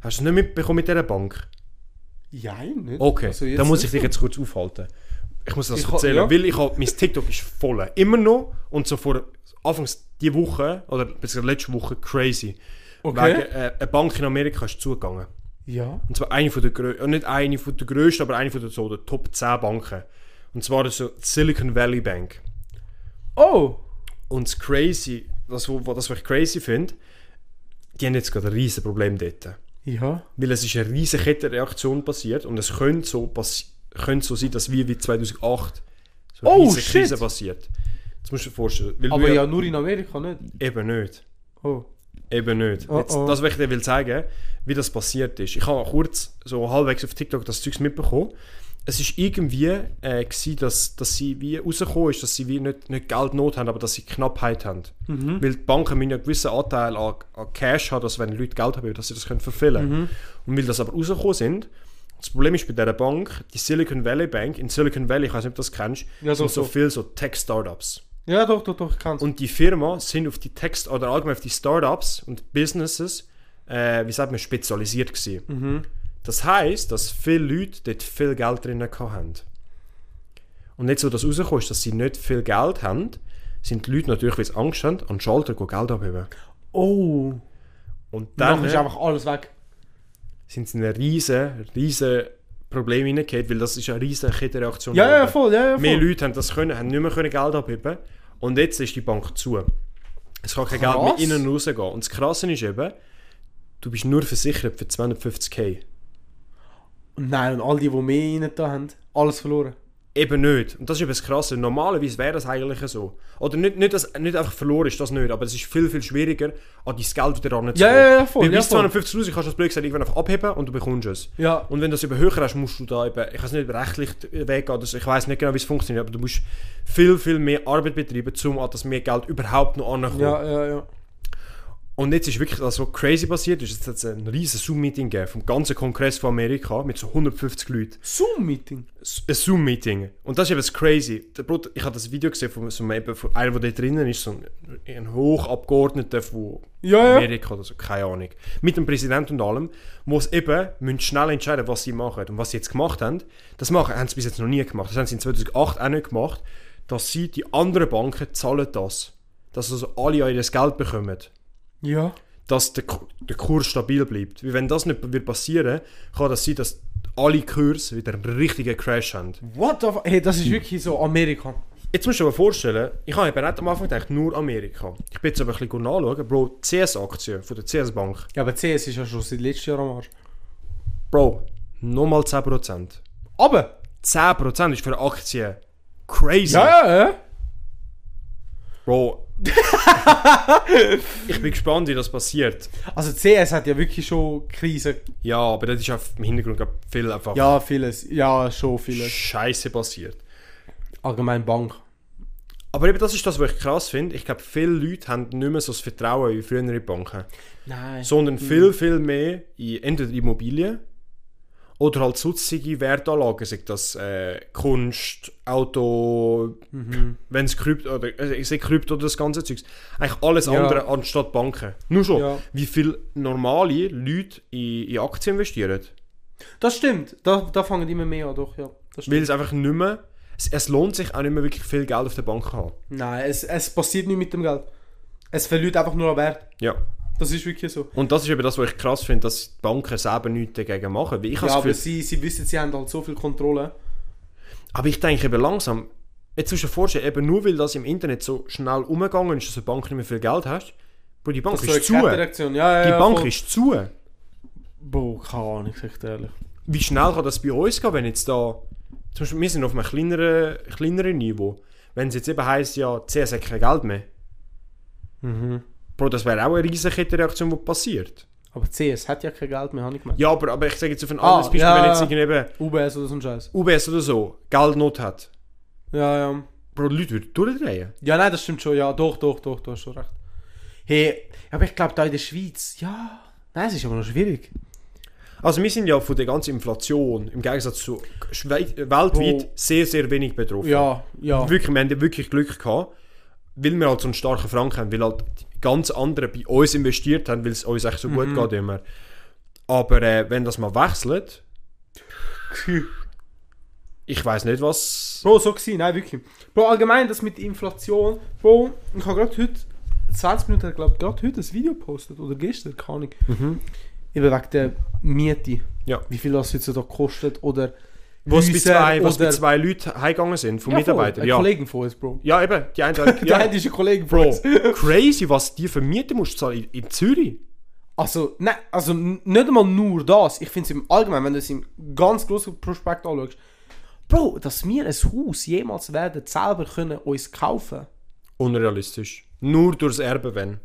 [SPEAKER 4] Hast du es nicht mitbekommen mit dieser Bank?
[SPEAKER 3] Nein, nicht.
[SPEAKER 4] Okay,
[SPEAKER 3] Also jetzt
[SPEAKER 4] dann muss
[SPEAKER 3] nicht
[SPEAKER 4] ich dich jetzt kurz aufhalten. Ich muss das
[SPEAKER 3] Ich ha-
[SPEAKER 4] erzählen,
[SPEAKER 3] ja.
[SPEAKER 4] weil ich hab, mein TikTok ist voll. Immer noch und so vor Anfangs die Woche oder bis letzte Woche crazy.
[SPEAKER 3] Okay.
[SPEAKER 4] Wegen, äh, eine Bank in Amerika ist zugegangen.
[SPEAKER 3] Ja.
[SPEAKER 4] Und zwar eine von der größten, nicht eine von der grössten, aber eine von der, so, der Top 10 Banken. Und zwar so die Silicon Valley Bank.
[SPEAKER 3] Oh!
[SPEAKER 4] Und das Crazy, das, wo- wo- das was ich crazy finde, die haben jetzt gerade ein riesen Problem dort.
[SPEAKER 3] Ja.
[SPEAKER 4] Weil es ist eine riesige Kettenreaktion passiert und es könnte so, passi- könnte so sein, dass wie wie 2008 so eine
[SPEAKER 3] Oh,
[SPEAKER 4] riesige
[SPEAKER 3] shit.
[SPEAKER 4] Krise passiert. Das musst du dir vorstellen. Weil
[SPEAKER 3] Aber
[SPEAKER 4] du
[SPEAKER 3] ja, nur in Amerika nicht.
[SPEAKER 4] Eben nicht.
[SPEAKER 3] Oh.
[SPEAKER 4] Eben nicht.
[SPEAKER 3] Oh,
[SPEAKER 4] Jetzt,
[SPEAKER 3] oh.
[SPEAKER 4] das, was ich dir will zeigen, wie das passiert ist. Ich habe kurz so halbwegs auf TikTok das Zeugs mitbekommen. Es ist irgendwie äh, gsi, dass, dass sie wie rausgekommen ist, dass sie wie nicht, nicht Geldnot haben, aber dass sie Knappheit haben.
[SPEAKER 3] Mhm.
[SPEAKER 4] Weil die Banken müssen ja einen gewissen Anteil an, an Cash haben, dass wenn Leute Geld haben, dass sie das können verfehlen
[SPEAKER 3] Mhm.
[SPEAKER 4] können. Und weil das aber rausgekommen sind, das Problem ist bei dieser Bank, die Silicon Valley Bank, in Silicon Valley, ich weiß nicht, ob du das kennst,
[SPEAKER 3] Ja,
[SPEAKER 4] sind
[SPEAKER 3] doch,
[SPEAKER 4] so
[SPEAKER 3] doch.
[SPEAKER 4] viele so Tech-Startups.
[SPEAKER 3] Ja, doch, doch, doch, ich kann's.
[SPEAKER 4] Und die Firma sind auf die Text oder
[SPEAKER 3] Mhm.
[SPEAKER 4] allgemein auf die Startups und Businesses, äh, wie sagt man, spezialisiert gewesen. Das heisst, dass viele Leute dort viel Geld drin hatten. Und jetzt, wo das rauskommt, dass sie nicht viel Geld haben, sind die Leute natürlich, weil sie Angst haben, an den Schalter gehen Geld abheben.
[SPEAKER 3] Oh.
[SPEAKER 4] Und
[SPEAKER 3] Dann
[SPEAKER 4] dann
[SPEAKER 3] ist einfach alles weg.
[SPEAKER 4] sind sie in ein riesen, riesen Problem hineingekommen, weil das ist eine riesige Kettenreaktion.
[SPEAKER 3] Ja, ja,
[SPEAKER 4] geworden.
[SPEAKER 3] voll, ja, ja, voll.
[SPEAKER 4] Mehr Leute haben das können, haben nicht mehr können Geld abheben und jetzt ist die Bank zu. Es kann kein Geld mehr
[SPEAKER 3] Krass.
[SPEAKER 4] innen und rausgehen. Und das Krasse ist eben, du bist nur versichert für 250k.
[SPEAKER 3] Und Nein, und all die, die mehr rein da haben, alles verloren.
[SPEAKER 4] Eben nicht. Und das ist eben das Krasse. Normalerweise wäre das eigentlich so. Oder nicht, nicht, dass nicht einfach verloren ist, das nicht, aber es ist viel, viel schwieriger, an dein Geld wieder ranzukommen.
[SPEAKER 3] Ja, ja, ja, voll,
[SPEAKER 4] Weil
[SPEAKER 3] ja,
[SPEAKER 4] bis
[SPEAKER 3] voll.
[SPEAKER 4] 250'000 kannst du das blöd gesagt irgendwann einfach abheben und du bekommst es.
[SPEAKER 3] Ja.
[SPEAKER 4] Und wenn du das eben höher hast, musst du da eben, ich weiß nicht, rechtlich weggehen, also ich weiß nicht genau, wie es funktioniert, aber du musst viel, viel mehr Arbeit betreiben, um an das mehr Geld überhaupt noch anzukommen.
[SPEAKER 3] Ja, ja, ja.
[SPEAKER 4] Und jetzt ist wirklich das, was crazy passiert ist, es hat ein riesen Zoom-Meeting gegeben vom ganzen Kongress von Amerika mit so 150 Leuten.
[SPEAKER 3] Zoom-Meeting.
[SPEAKER 4] S- Ein Zoom-Meeting. Und das ist eben das crazy. Der Bruder, ich habe das Video gesehen von, so einem, eben von einem, der da drinnen ist, so ein, ein Hochabgeordneter von
[SPEAKER 3] Ja, ja.
[SPEAKER 4] Amerika oder so, keine Ahnung. Mit dem Präsidenten und allem, muss eben müssen schnell entscheiden, was sie machen. Und was sie jetzt gemacht haben, das machen, haben sie bis jetzt noch nie gemacht. Das haben sie in 2008 auch nicht gemacht, dass sie die anderen Banken zahlen das. Dass also alle ihr Geld bekommen.
[SPEAKER 3] Ja.
[SPEAKER 4] Dass der, Ku- der Kurs stabil bleibt. Weil wenn das nicht wird passieren, kann das sein, dass alle Kurse wieder einen richtigen Crash haben.
[SPEAKER 3] What the fuck? Hey, das ist wirklich so Amerika.
[SPEAKER 4] Jetzt musst du dir mal vorstellen, ich habe eben nicht am Anfang gedacht, nur Amerika. Ich bin jetzt aber ein bisschen nachschauen, Bro, die CS-Aktie von der CS-Bank.
[SPEAKER 3] Ja, aber CS ist ja schon seit letztem Jahr am Arsch.
[SPEAKER 4] Bro, nochmal 10%.
[SPEAKER 3] Aber!
[SPEAKER 4] 10% ist für eine Aktie crazy.
[SPEAKER 3] Ja, ja, ja.
[SPEAKER 4] Bro. ich bin gespannt, wie das passiert.
[SPEAKER 3] Also CS hat ja wirklich schon Krisen.
[SPEAKER 4] Ja, aber das ist auch im Hintergrund glaub ich, viel einfach
[SPEAKER 3] Ja, vieles. Ja, schon vieles.
[SPEAKER 4] Scheiße passiert.
[SPEAKER 3] Allgemein Bank.
[SPEAKER 4] Aber eben das ist das, was ich krass finde. Ich glaube, viele Leute haben nicht mehr so das Vertrauen in frühere Banken.
[SPEAKER 3] Nein.
[SPEAKER 4] sondern viel, viel mehr in entweder Immobilien oder halt sonstige Wertanlagen, sei das äh, Kunst, Auto,
[SPEAKER 3] Mhm.
[SPEAKER 4] wenn es Krypto oder äh, ich sehe Krypto oder das ganze Zeugs. Eigentlich alles
[SPEAKER 3] Ja.
[SPEAKER 4] andere anstatt Banken. Nur schon,
[SPEAKER 3] Ja.
[SPEAKER 4] wie viel normale Leute in, in Aktien investieren.
[SPEAKER 3] Das stimmt. Da, da fangen immer mehr an, doch, ja. Das stimmt.
[SPEAKER 4] Weil es einfach nicht mehr, es, es lohnt sich auch nicht mehr wirklich viel Geld auf der Bank zu haben.
[SPEAKER 3] Nein, es, es passiert nicht mit dem Geld. Es verliert einfach nur an Wert.
[SPEAKER 4] Ja.
[SPEAKER 3] Das ist wirklich so.
[SPEAKER 4] Und das ist eben das, was ich krass finde, dass die Banken selber nichts dagegen machen. Weil ich habe
[SPEAKER 3] ja,
[SPEAKER 4] das
[SPEAKER 3] aber
[SPEAKER 4] Gefühl,
[SPEAKER 3] sie, sie wissen, sie haben halt so viel Kontrolle.
[SPEAKER 4] Aber ich denke eben langsam, jetzt musst du dir vorstellen, eben nur weil das im Internet so schnell umgegangen ist, dass eine Bank nicht mehr viel Geld hast, Bro, die Bank
[SPEAKER 3] So eine
[SPEAKER 4] ist zu. Die
[SPEAKER 3] Kettenreaktion. Ja, ja, ja,
[SPEAKER 4] Bank
[SPEAKER 3] voll.
[SPEAKER 4] ist zu.
[SPEAKER 3] Boah, keine Ahnung, sag ich dir ehrlich.
[SPEAKER 4] Wie schnell kann das bei uns gehen, wenn jetzt da, zum Beispiel, wir sind auf einem kleineren, kleineren Niveau, wenn es jetzt eben heisst, ja, die CS hat kein Geld mehr.
[SPEAKER 3] Mhm.
[SPEAKER 4] Bro, das wäre auch eine riesige Kettenreaktion, die passiert.
[SPEAKER 3] Aber CS hat ja kein Geld mehr, habe ich gemeint.
[SPEAKER 4] Ja, aber, aber ich sage jetzt auf ein
[SPEAKER 3] Ah,
[SPEAKER 4] anderes Beispiel,
[SPEAKER 3] ja,
[SPEAKER 4] wenn
[SPEAKER 3] ja.
[SPEAKER 4] jetzt irgendein
[SPEAKER 3] UBS oder so ein Scheiß.
[SPEAKER 4] UBS oder so Geldnot hat,
[SPEAKER 3] Ja, ja.
[SPEAKER 4] Bro, die Leute würden durchdrehen.
[SPEAKER 3] Ja, nein, das stimmt schon. Ja, doch, doch, doch, du hast schon recht. Hey, aber ich glaube, da in der Schweiz, ja. Nein, es ist aber noch schwierig.
[SPEAKER 4] Also wir sind ja von der ganzen Inflation im Gegensatz zu Schwei- äh, weltweit
[SPEAKER 3] Bro.
[SPEAKER 4] sehr, sehr wenig betroffen.
[SPEAKER 3] Oh. Ja, ja.
[SPEAKER 4] Wirklich, wir haben ja wirklich Glück gehabt, weil wir halt so einen starken Franken haben, weil halt die ganz anderen bei uns investiert haben, weil es uns echt so
[SPEAKER 3] Mhm.
[SPEAKER 4] gut geht immer. Aber äh, wenn das mal wechselt, ich weiß nicht was...
[SPEAKER 3] Bro, so gewesen, nein, wirklich. Bro, allgemein das mit Inflation. Bro, ich habe gerade heute, 20 Minuten, ich glaube, gerade heute ein Video gepostet oder gestern, keine Ahnung. Eben wegen der Miete.
[SPEAKER 4] Ja.
[SPEAKER 3] Wie viel das jetzt da kostet oder.
[SPEAKER 4] Was bei
[SPEAKER 3] Häuser
[SPEAKER 4] zwei, was bei
[SPEAKER 3] oder-
[SPEAKER 4] zwei Leuten heimgegangen sind, von
[SPEAKER 3] Ja, voll,
[SPEAKER 4] Mitarbeitern.
[SPEAKER 3] Ein
[SPEAKER 4] Ja.
[SPEAKER 3] Kollegen von uns, Bro.
[SPEAKER 4] ja, eben. Die eine,
[SPEAKER 3] Der
[SPEAKER 4] ja.
[SPEAKER 3] eine ist ein Kollege von
[SPEAKER 4] Bro,
[SPEAKER 3] uns.
[SPEAKER 4] crazy, was die für Miete musst du zahlen in, in Zürich.
[SPEAKER 3] Also, nein, also n- nicht einmal nur das. Ich finde es im Allgemeinen, wenn du es im ganz großen Prospekt anschaust. Bro, dass wir ein Haus jemals werden selber können uns kaufen.
[SPEAKER 4] Unrealistisch. Nur durchs Erbe, wenn.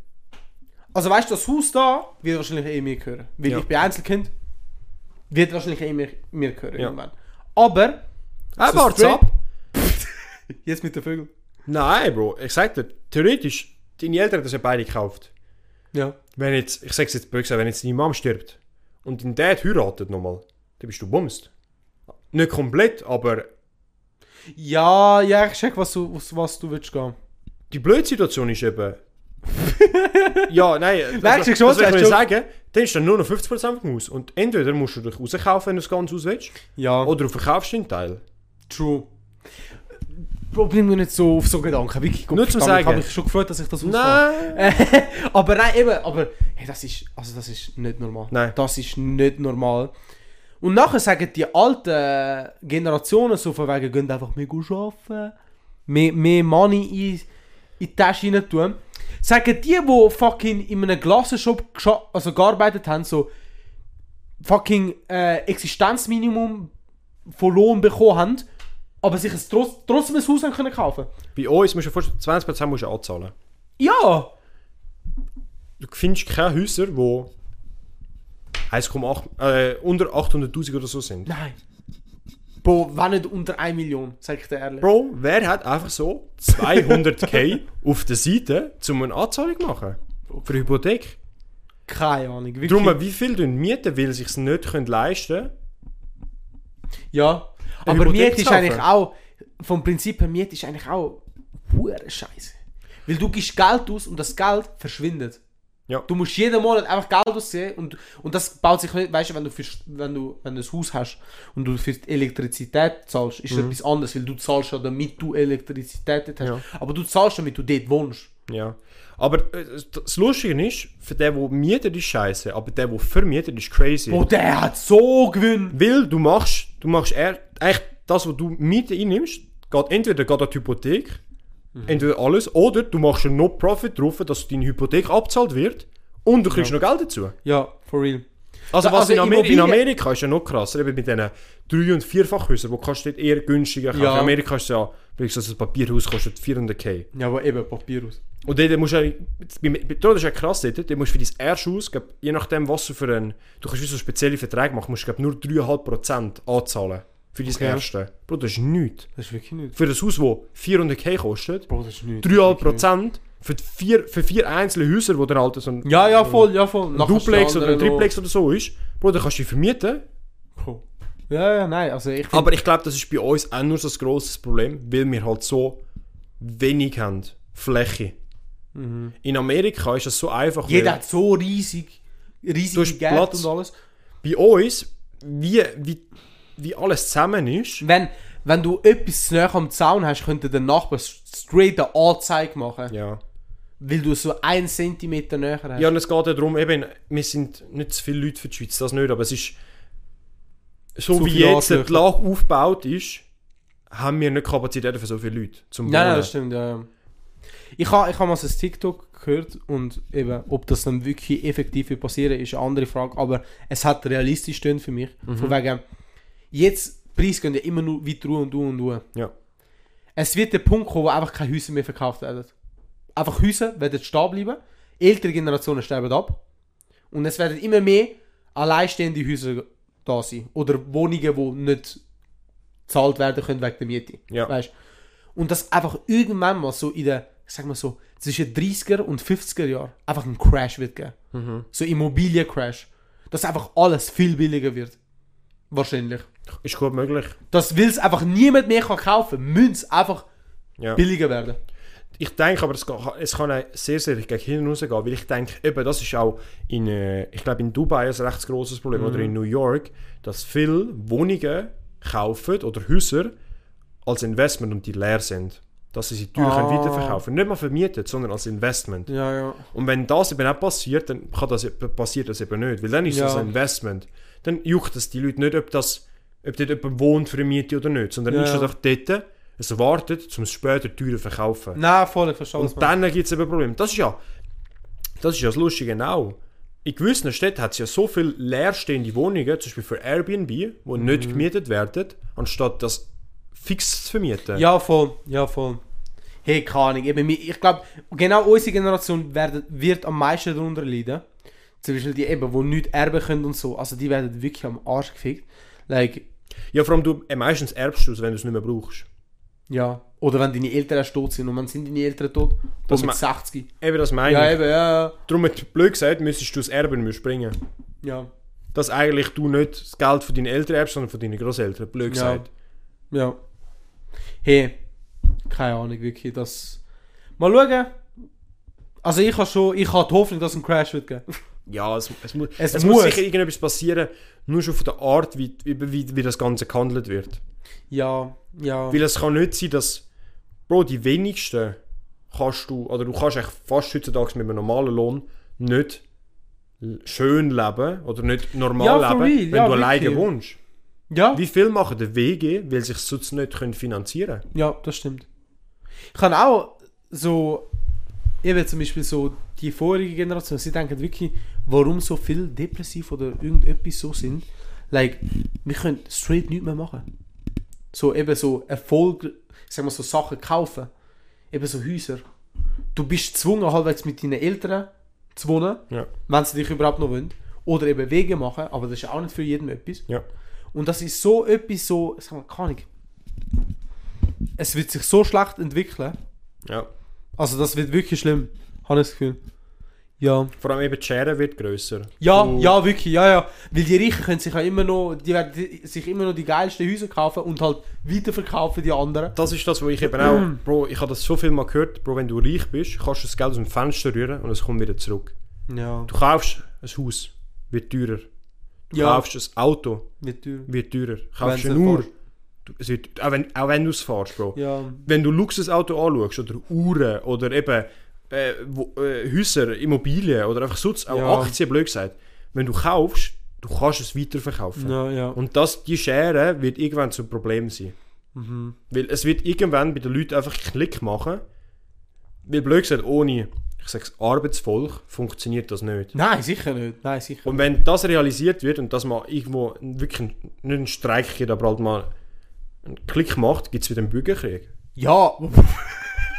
[SPEAKER 3] Also weißt du, das Haus da wird wahrscheinlich eh mir gehören. Weil
[SPEAKER 4] Ja.
[SPEAKER 3] ich bin Einzelkind, wird wahrscheinlich eh mir, mir gehören
[SPEAKER 4] Ja.
[SPEAKER 3] irgendwann. Aber,
[SPEAKER 4] Ah,
[SPEAKER 3] So
[SPEAKER 4] wart's
[SPEAKER 3] straight-
[SPEAKER 4] ab!
[SPEAKER 3] jetzt mit den Vögeln.
[SPEAKER 4] Nein, Bro, ich sag dir, theoretisch, deine Eltern haben das ja beide gekauft.
[SPEAKER 3] Ja.
[SPEAKER 4] Wenn jetzt, ich sag's jetzt böse, gesagt, wenn jetzt deine Mom stirbt und dein Dad heiratet nochmal, dann bist du bumst. Nicht komplett, aber
[SPEAKER 3] Ja, ja, ich check, was du, was, was du willst gehen.
[SPEAKER 4] die blöde Situation ist eben. ja, nein, das,
[SPEAKER 3] Merkst du schon,
[SPEAKER 4] das will ich
[SPEAKER 3] hast
[SPEAKER 4] mir
[SPEAKER 3] du-
[SPEAKER 4] sagen. Dann ist dann nur noch 50% vom Haus. Und entweder musst du dich rauskaufen, wenn du das ganze Haus willst,
[SPEAKER 3] Ja,
[SPEAKER 4] oder du verkaufst den Teil.
[SPEAKER 3] true. Äh, Problem mir nicht so auf so Gedanken. Wirklich,
[SPEAKER 4] Nur zum
[SPEAKER 3] verdammt, Ich habe
[SPEAKER 4] Sagen.
[SPEAKER 3] mich schon gefreut, dass ich das ausfahre.
[SPEAKER 4] Nein!
[SPEAKER 3] aber nein, eben, aber hey, das ist, also das ist nicht normal.
[SPEAKER 4] Nein.
[SPEAKER 3] Das ist nicht normal. Und nachher sagen die alten Generationen so von wegen, gehen einfach mehr arbeiten, mehr, mehr Money in, in die Tasche rein tun. Sagen die, die fucking in einem Glasenshop gescha- also gearbeitet haben, so fucking äh, Existenzminimum von Lohn bekommen haben, aber sich ein, trotz- trotzdem ein Haus haben können kaufen
[SPEAKER 4] Bei uns musst du dir vorstellen, 20% musst du anzahlen.
[SPEAKER 3] Ja!
[SPEAKER 4] Du findest keine Häuser, die 1,8 äh, unter 800.000 oder so sind.
[SPEAKER 3] Nein. Bro, wenn nicht unter 1 Million, sag ich dir ehrlich.
[SPEAKER 4] Bro, wer hat einfach so 200k auf der Seite, um eine Anzahlung zu machen? Für eine Hypothek.
[SPEAKER 3] Keine Ahnung. Wirklich.
[SPEAKER 4] Darum, wie viel tun mieten, weil sie es nicht können leisten können?
[SPEAKER 3] Ja.
[SPEAKER 4] Eine
[SPEAKER 3] Aber
[SPEAKER 4] Hypothek
[SPEAKER 3] Miete ist
[SPEAKER 4] zu
[SPEAKER 3] eigentlich
[SPEAKER 4] kaufen.
[SPEAKER 3] auch, vom Prinzip her, Miete ist eigentlich auch pure Scheiße. Weil du gibst Geld aus und das Geld verschwindet.
[SPEAKER 4] Ja.
[SPEAKER 3] Du musst jeden Monat einfach Geld ausgeben und, und das baut sich nicht, weißt du, wenn du, für, wenn du, wenn du ein Haus hast und du für die Elektrizität zahlst, ist
[SPEAKER 4] Mhm.
[SPEAKER 3] etwas anderes, weil du zahlst ja, damit du Elektrizität dort hast. Aber du zahlst, damit du dort wohnst.
[SPEAKER 4] Ja. Aber äh, das Lustige ist, für den, der mietet, ist scheiße, aber der, der vermietet, ist crazy.
[SPEAKER 3] Bro, der hat so gewonnen.
[SPEAKER 4] Weil du machst, du machst eher, eigentlich das, was du Miete einnimmst, geht entweder geht an die Hypothek, entweder alles, oder du machst einen No-Profit drauf, dass deine Hypothek abzahlt wird und du kriegst noch Geld dazu.
[SPEAKER 3] Ja, for real.
[SPEAKER 4] Also,
[SPEAKER 3] Da-
[SPEAKER 4] was
[SPEAKER 3] also
[SPEAKER 4] in, Amer in
[SPEAKER 3] Immobilien-
[SPEAKER 4] Amerika ist ja noch krasser, eben mit diesen 3- und 4-Fachhäusern, wo kannst du dort eher günstiger kaufen.
[SPEAKER 3] Ja.
[SPEAKER 4] In Amerika ist es ja, beispielsweise ein Papierhaus kostet 400k.
[SPEAKER 3] Ja, eh, aber eben, Papier aus.
[SPEAKER 4] Und dort musst du ja, bei- bei- dort ist ja krass, dort, dort musst du für dein erstes Haus, glaub, je nachdem was du für einen, du kannst wie so spezielle Verträge machen, musst du glaub, nur 3,5% anzahlen für dein erste. Bro, das ist nichts.
[SPEAKER 3] Das ist wirklich nicht.
[SPEAKER 4] Für ein Haus, das 400k kostet,
[SPEAKER 3] Bro, das ist nicht.
[SPEAKER 4] 3,5% für, die vier, für vier einzelne Häuser, die dann halt so ein
[SPEAKER 3] Ja, ja, voll, ja, voll.
[SPEAKER 4] ein Duplex oder ein Triplex oder so ist, Bro, dann kannst du die vermieten.
[SPEAKER 3] Ja, ja, nein, also ich
[SPEAKER 4] Aber ich glaube, das ist bei uns auch nur so ein grosses Problem, weil wir halt so wenig haben. Fläche. In Amerika ist das so einfach.
[SPEAKER 3] Jeder
[SPEAKER 4] weil-
[SPEAKER 3] hat so riesig, riesig
[SPEAKER 4] Du hast Platz.
[SPEAKER 3] und alles.
[SPEAKER 4] bei uns, wie, wie, wie alles zusammen ist,
[SPEAKER 3] Wenn, wenn du etwas zu nahe am Zaun hast, könnte der Nachbar straight eine Anzeige machen.
[SPEAKER 4] ja.
[SPEAKER 3] Weil du so einen Zentimeter näher hast.
[SPEAKER 4] Ja, und es geht ja darum, eben, wir sind nicht zu viele Leute für die Schweiz, das nicht, aber es ist, so
[SPEAKER 3] Zu
[SPEAKER 4] wie
[SPEAKER 3] viele
[SPEAKER 4] jetzt die
[SPEAKER 3] Arschlöcher.
[SPEAKER 4] Lage aufgebaut ist, haben wir nicht Kapazitäten für so viele Leute zum
[SPEAKER 3] Nein, nein,
[SPEAKER 4] Wohnen.
[SPEAKER 3] das stimmt, ja. ja. Ich habe ich ha mal so ein TikTok gehört und eben, ob das dann wirklich effektiv wird passieren, ist eine andere Frage, aber es hat realistisch stimmt für mich. Von wegen, jetzt, die Preise gehen ja immer nur weiter hoch und hoch und hoch.
[SPEAKER 4] Ja.
[SPEAKER 3] Es wird der Punkt kommen, wo einfach keine Häuser mehr verkauft werden. Einfach Häuser werden stehen bleiben, ältere Generationen sterben ab und es werden immer mehr alleinstehende Häuser da sein oder Wohnungen, die nicht gezahlt werden können wegen der Miete.
[SPEAKER 4] Ja.
[SPEAKER 3] Weißt? Und das einfach irgendwann mal so in der, ich sag mal so, zwischen 30er und 50er Jahren einfach ein Crash wird geben. So Immobiliencrash. Dass einfach alles viel billiger wird. Wahrscheinlich.
[SPEAKER 4] Ist gut möglich.
[SPEAKER 3] Das will es einfach niemand mehr kann kaufen. Müssen es einfach
[SPEAKER 4] Ja.
[SPEAKER 3] billiger werden.
[SPEAKER 4] Ich denke aber, es kann, es kann auch sehr, sehr gegen hinten rausgehen, weil ich denke, eben, das ist auch in, äh, ich glaube, in Dubai ein recht grosses Problem
[SPEAKER 3] Mhm.
[SPEAKER 4] oder in New York, dass viele Wohnungen kaufen oder Häuser als Investment und die leer sind. Dass sie sie teuer können
[SPEAKER 3] Ah.
[SPEAKER 4] weiterverkaufen. Nicht mal vermietet, sondern als Investment.
[SPEAKER 3] Ja, ja.
[SPEAKER 4] Und wenn das eben auch passiert, dann kann das, eben- passiert das eben nicht, weil dann ist
[SPEAKER 3] Ja.
[SPEAKER 4] das ein Investment. Dann juckt es die Leute nicht, ob, das, ob dort jemand wohnt für eine Miete oder nicht, sondern
[SPEAKER 3] Ja.
[SPEAKER 4] ist das einfach dort, es wartet, um es später teurer zu verkaufen.
[SPEAKER 3] Nein, voll, ich verstehe
[SPEAKER 4] Und dann gibt es eben Probleme. Das ist ja das, ist ja das Lustige auch. In gewissen Städten hat es ja so viele leerstehende Wohnungen, zum Beispiel für Airbnb, die
[SPEAKER 3] Mhm.
[SPEAKER 4] nicht gemietet werden, anstatt das fix zu vermieten.
[SPEAKER 3] Ja, voll. Ja, voll. Hey, keine Ahnung. Eben, mi- Ich glaube, genau unsere Generation werden, wird am meisten darunter leiden. Zum Beispiel die eben, die nichts erben können und so. Also die werden wirklich am Arsch gefickt. Like,
[SPEAKER 4] ja vor allem du äh, meistens erbst du es, wenn du es nicht mehr brauchst.
[SPEAKER 3] ja. Oder wenn deine Eltern erst tot sind. Und wann sind deine Eltern tot? Das
[SPEAKER 4] Das
[SPEAKER 3] mit
[SPEAKER 4] mein-
[SPEAKER 3] 60.
[SPEAKER 4] Eben das meine
[SPEAKER 3] Ja,
[SPEAKER 4] ich.
[SPEAKER 3] eben, ja, ja.
[SPEAKER 4] Darum, hat- blöd gesagt, müsstest du das Erben müsst bringen.
[SPEAKER 3] Ja.
[SPEAKER 4] Dass eigentlich du nicht das Geld von deinen Eltern erbst, sondern von deinen Großeltern. Blöd
[SPEAKER 3] Ja.
[SPEAKER 4] gesagt.
[SPEAKER 3] Ja. Hey, keine Ahnung, wirklich, das... Mal schauen. Also ich habe schon, ich habe die Hoffnung, dass es einen Crash wird geben.
[SPEAKER 4] Ja, es, es, mu
[SPEAKER 3] Es
[SPEAKER 4] es, muss
[SPEAKER 3] muss.
[SPEAKER 4] sicher irgendetwas passieren, nur schon von der Art, wie, wie, wie, wie das Ganze gehandelt wird.
[SPEAKER 3] Ja, ja.
[SPEAKER 4] Weil es kann nicht sein, dass, Bro, die wenigsten kannst du, oder du kannst eigentlich fast heutzutage mit einem normalen Lohn nicht l- schön leben oder nicht normal
[SPEAKER 3] Ja, for
[SPEAKER 4] leben,
[SPEAKER 3] real.
[SPEAKER 4] wenn
[SPEAKER 3] Ja,
[SPEAKER 4] du alleine
[SPEAKER 3] wirklich.
[SPEAKER 4] wohnst.
[SPEAKER 3] Ja,
[SPEAKER 4] Wie viel machen die WG, weil sie es sonst nicht können finanzieren können?
[SPEAKER 3] ja, das stimmt. Ich kann auch so, eben zum Beispiel so die vorige Generation, sie denken wirklich, warum so viel depressiv oder irgendetwas so sind. Like, wir können straight nichts mehr machen. So eben so Erfolg, sagen wir so Sachen kaufen. Eben so Häuser. Du bist gezwungen, halbwegs mit deinen Eltern zu wohnen,
[SPEAKER 4] Ja.
[SPEAKER 3] wenn sie dich überhaupt noch wollen. Oder eben Wege machen, aber das ist auch nicht für jeden etwas.
[SPEAKER 4] Ja.
[SPEAKER 3] Und das ist so etwas so, sagen wir, keine Ahnung. Es wird sich so schlecht entwickeln.
[SPEAKER 4] ja.
[SPEAKER 3] Also das wird wirklich schlimm, habe ich das Gefühl. Ja.
[SPEAKER 4] Vor allem eben die Schere wird grösser.
[SPEAKER 3] Ja,
[SPEAKER 4] Du-
[SPEAKER 3] ja, wirklich, ja, ja. Weil die Reichen können sich ja immer noch, die werden die- sich immer noch die geilsten Häuser kaufen und halt weiterverkaufen die anderen.
[SPEAKER 4] Das ist das, wo ich eben auch, Bro, ich habe das so viel mal gehört, Bro, wenn du reich bist, kannst du das Geld aus dem Fenster rühren und es kommt wieder zurück.
[SPEAKER 3] Ja.
[SPEAKER 4] Du kaufst ein Haus, wird teurer. Du
[SPEAKER 3] Ja.
[SPEAKER 4] kaufst ein Auto,
[SPEAKER 3] Mit Tür.
[SPEAKER 4] wird teurer. Kaufst
[SPEAKER 3] Wenn's
[SPEAKER 4] eine Uhr,
[SPEAKER 3] erfährst.
[SPEAKER 4] du, es wird, auch wenn, auch wenn du es fährst, Bro.
[SPEAKER 3] Ja.
[SPEAKER 4] Wenn du Luxusauto anschaust oder Uhren oder eben äh, wo, äh, Häuser, Immobilien oder einfach sonst, auch
[SPEAKER 3] Ja.
[SPEAKER 4] Aktien, blöd gesagt. Wenn du kaufst, du kannst es weiterverkaufen.
[SPEAKER 3] Ja, ja.
[SPEAKER 4] Und das, die Schere wird irgendwann zum Problem sein.
[SPEAKER 3] Mhm.
[SPEAKER 4] Weil es wird irgendwann bei den Leuten einfach Klick machen. Weil blöd gesagt, ohne, ich sag's, Arbeitsvolk funktioniert das nicht.
[SPEAKER 3] Nein, sicher nicht. Nein, sicher.
[SPEAKER 4] Und wenn das realisiert wird und dass man irgendwo wirklich einen- nicht einen Streik gibt, aber halt mal einen Klick macht, gibt es wieder einen Bürgerkrieg.
[SPEAKER 3] Ja.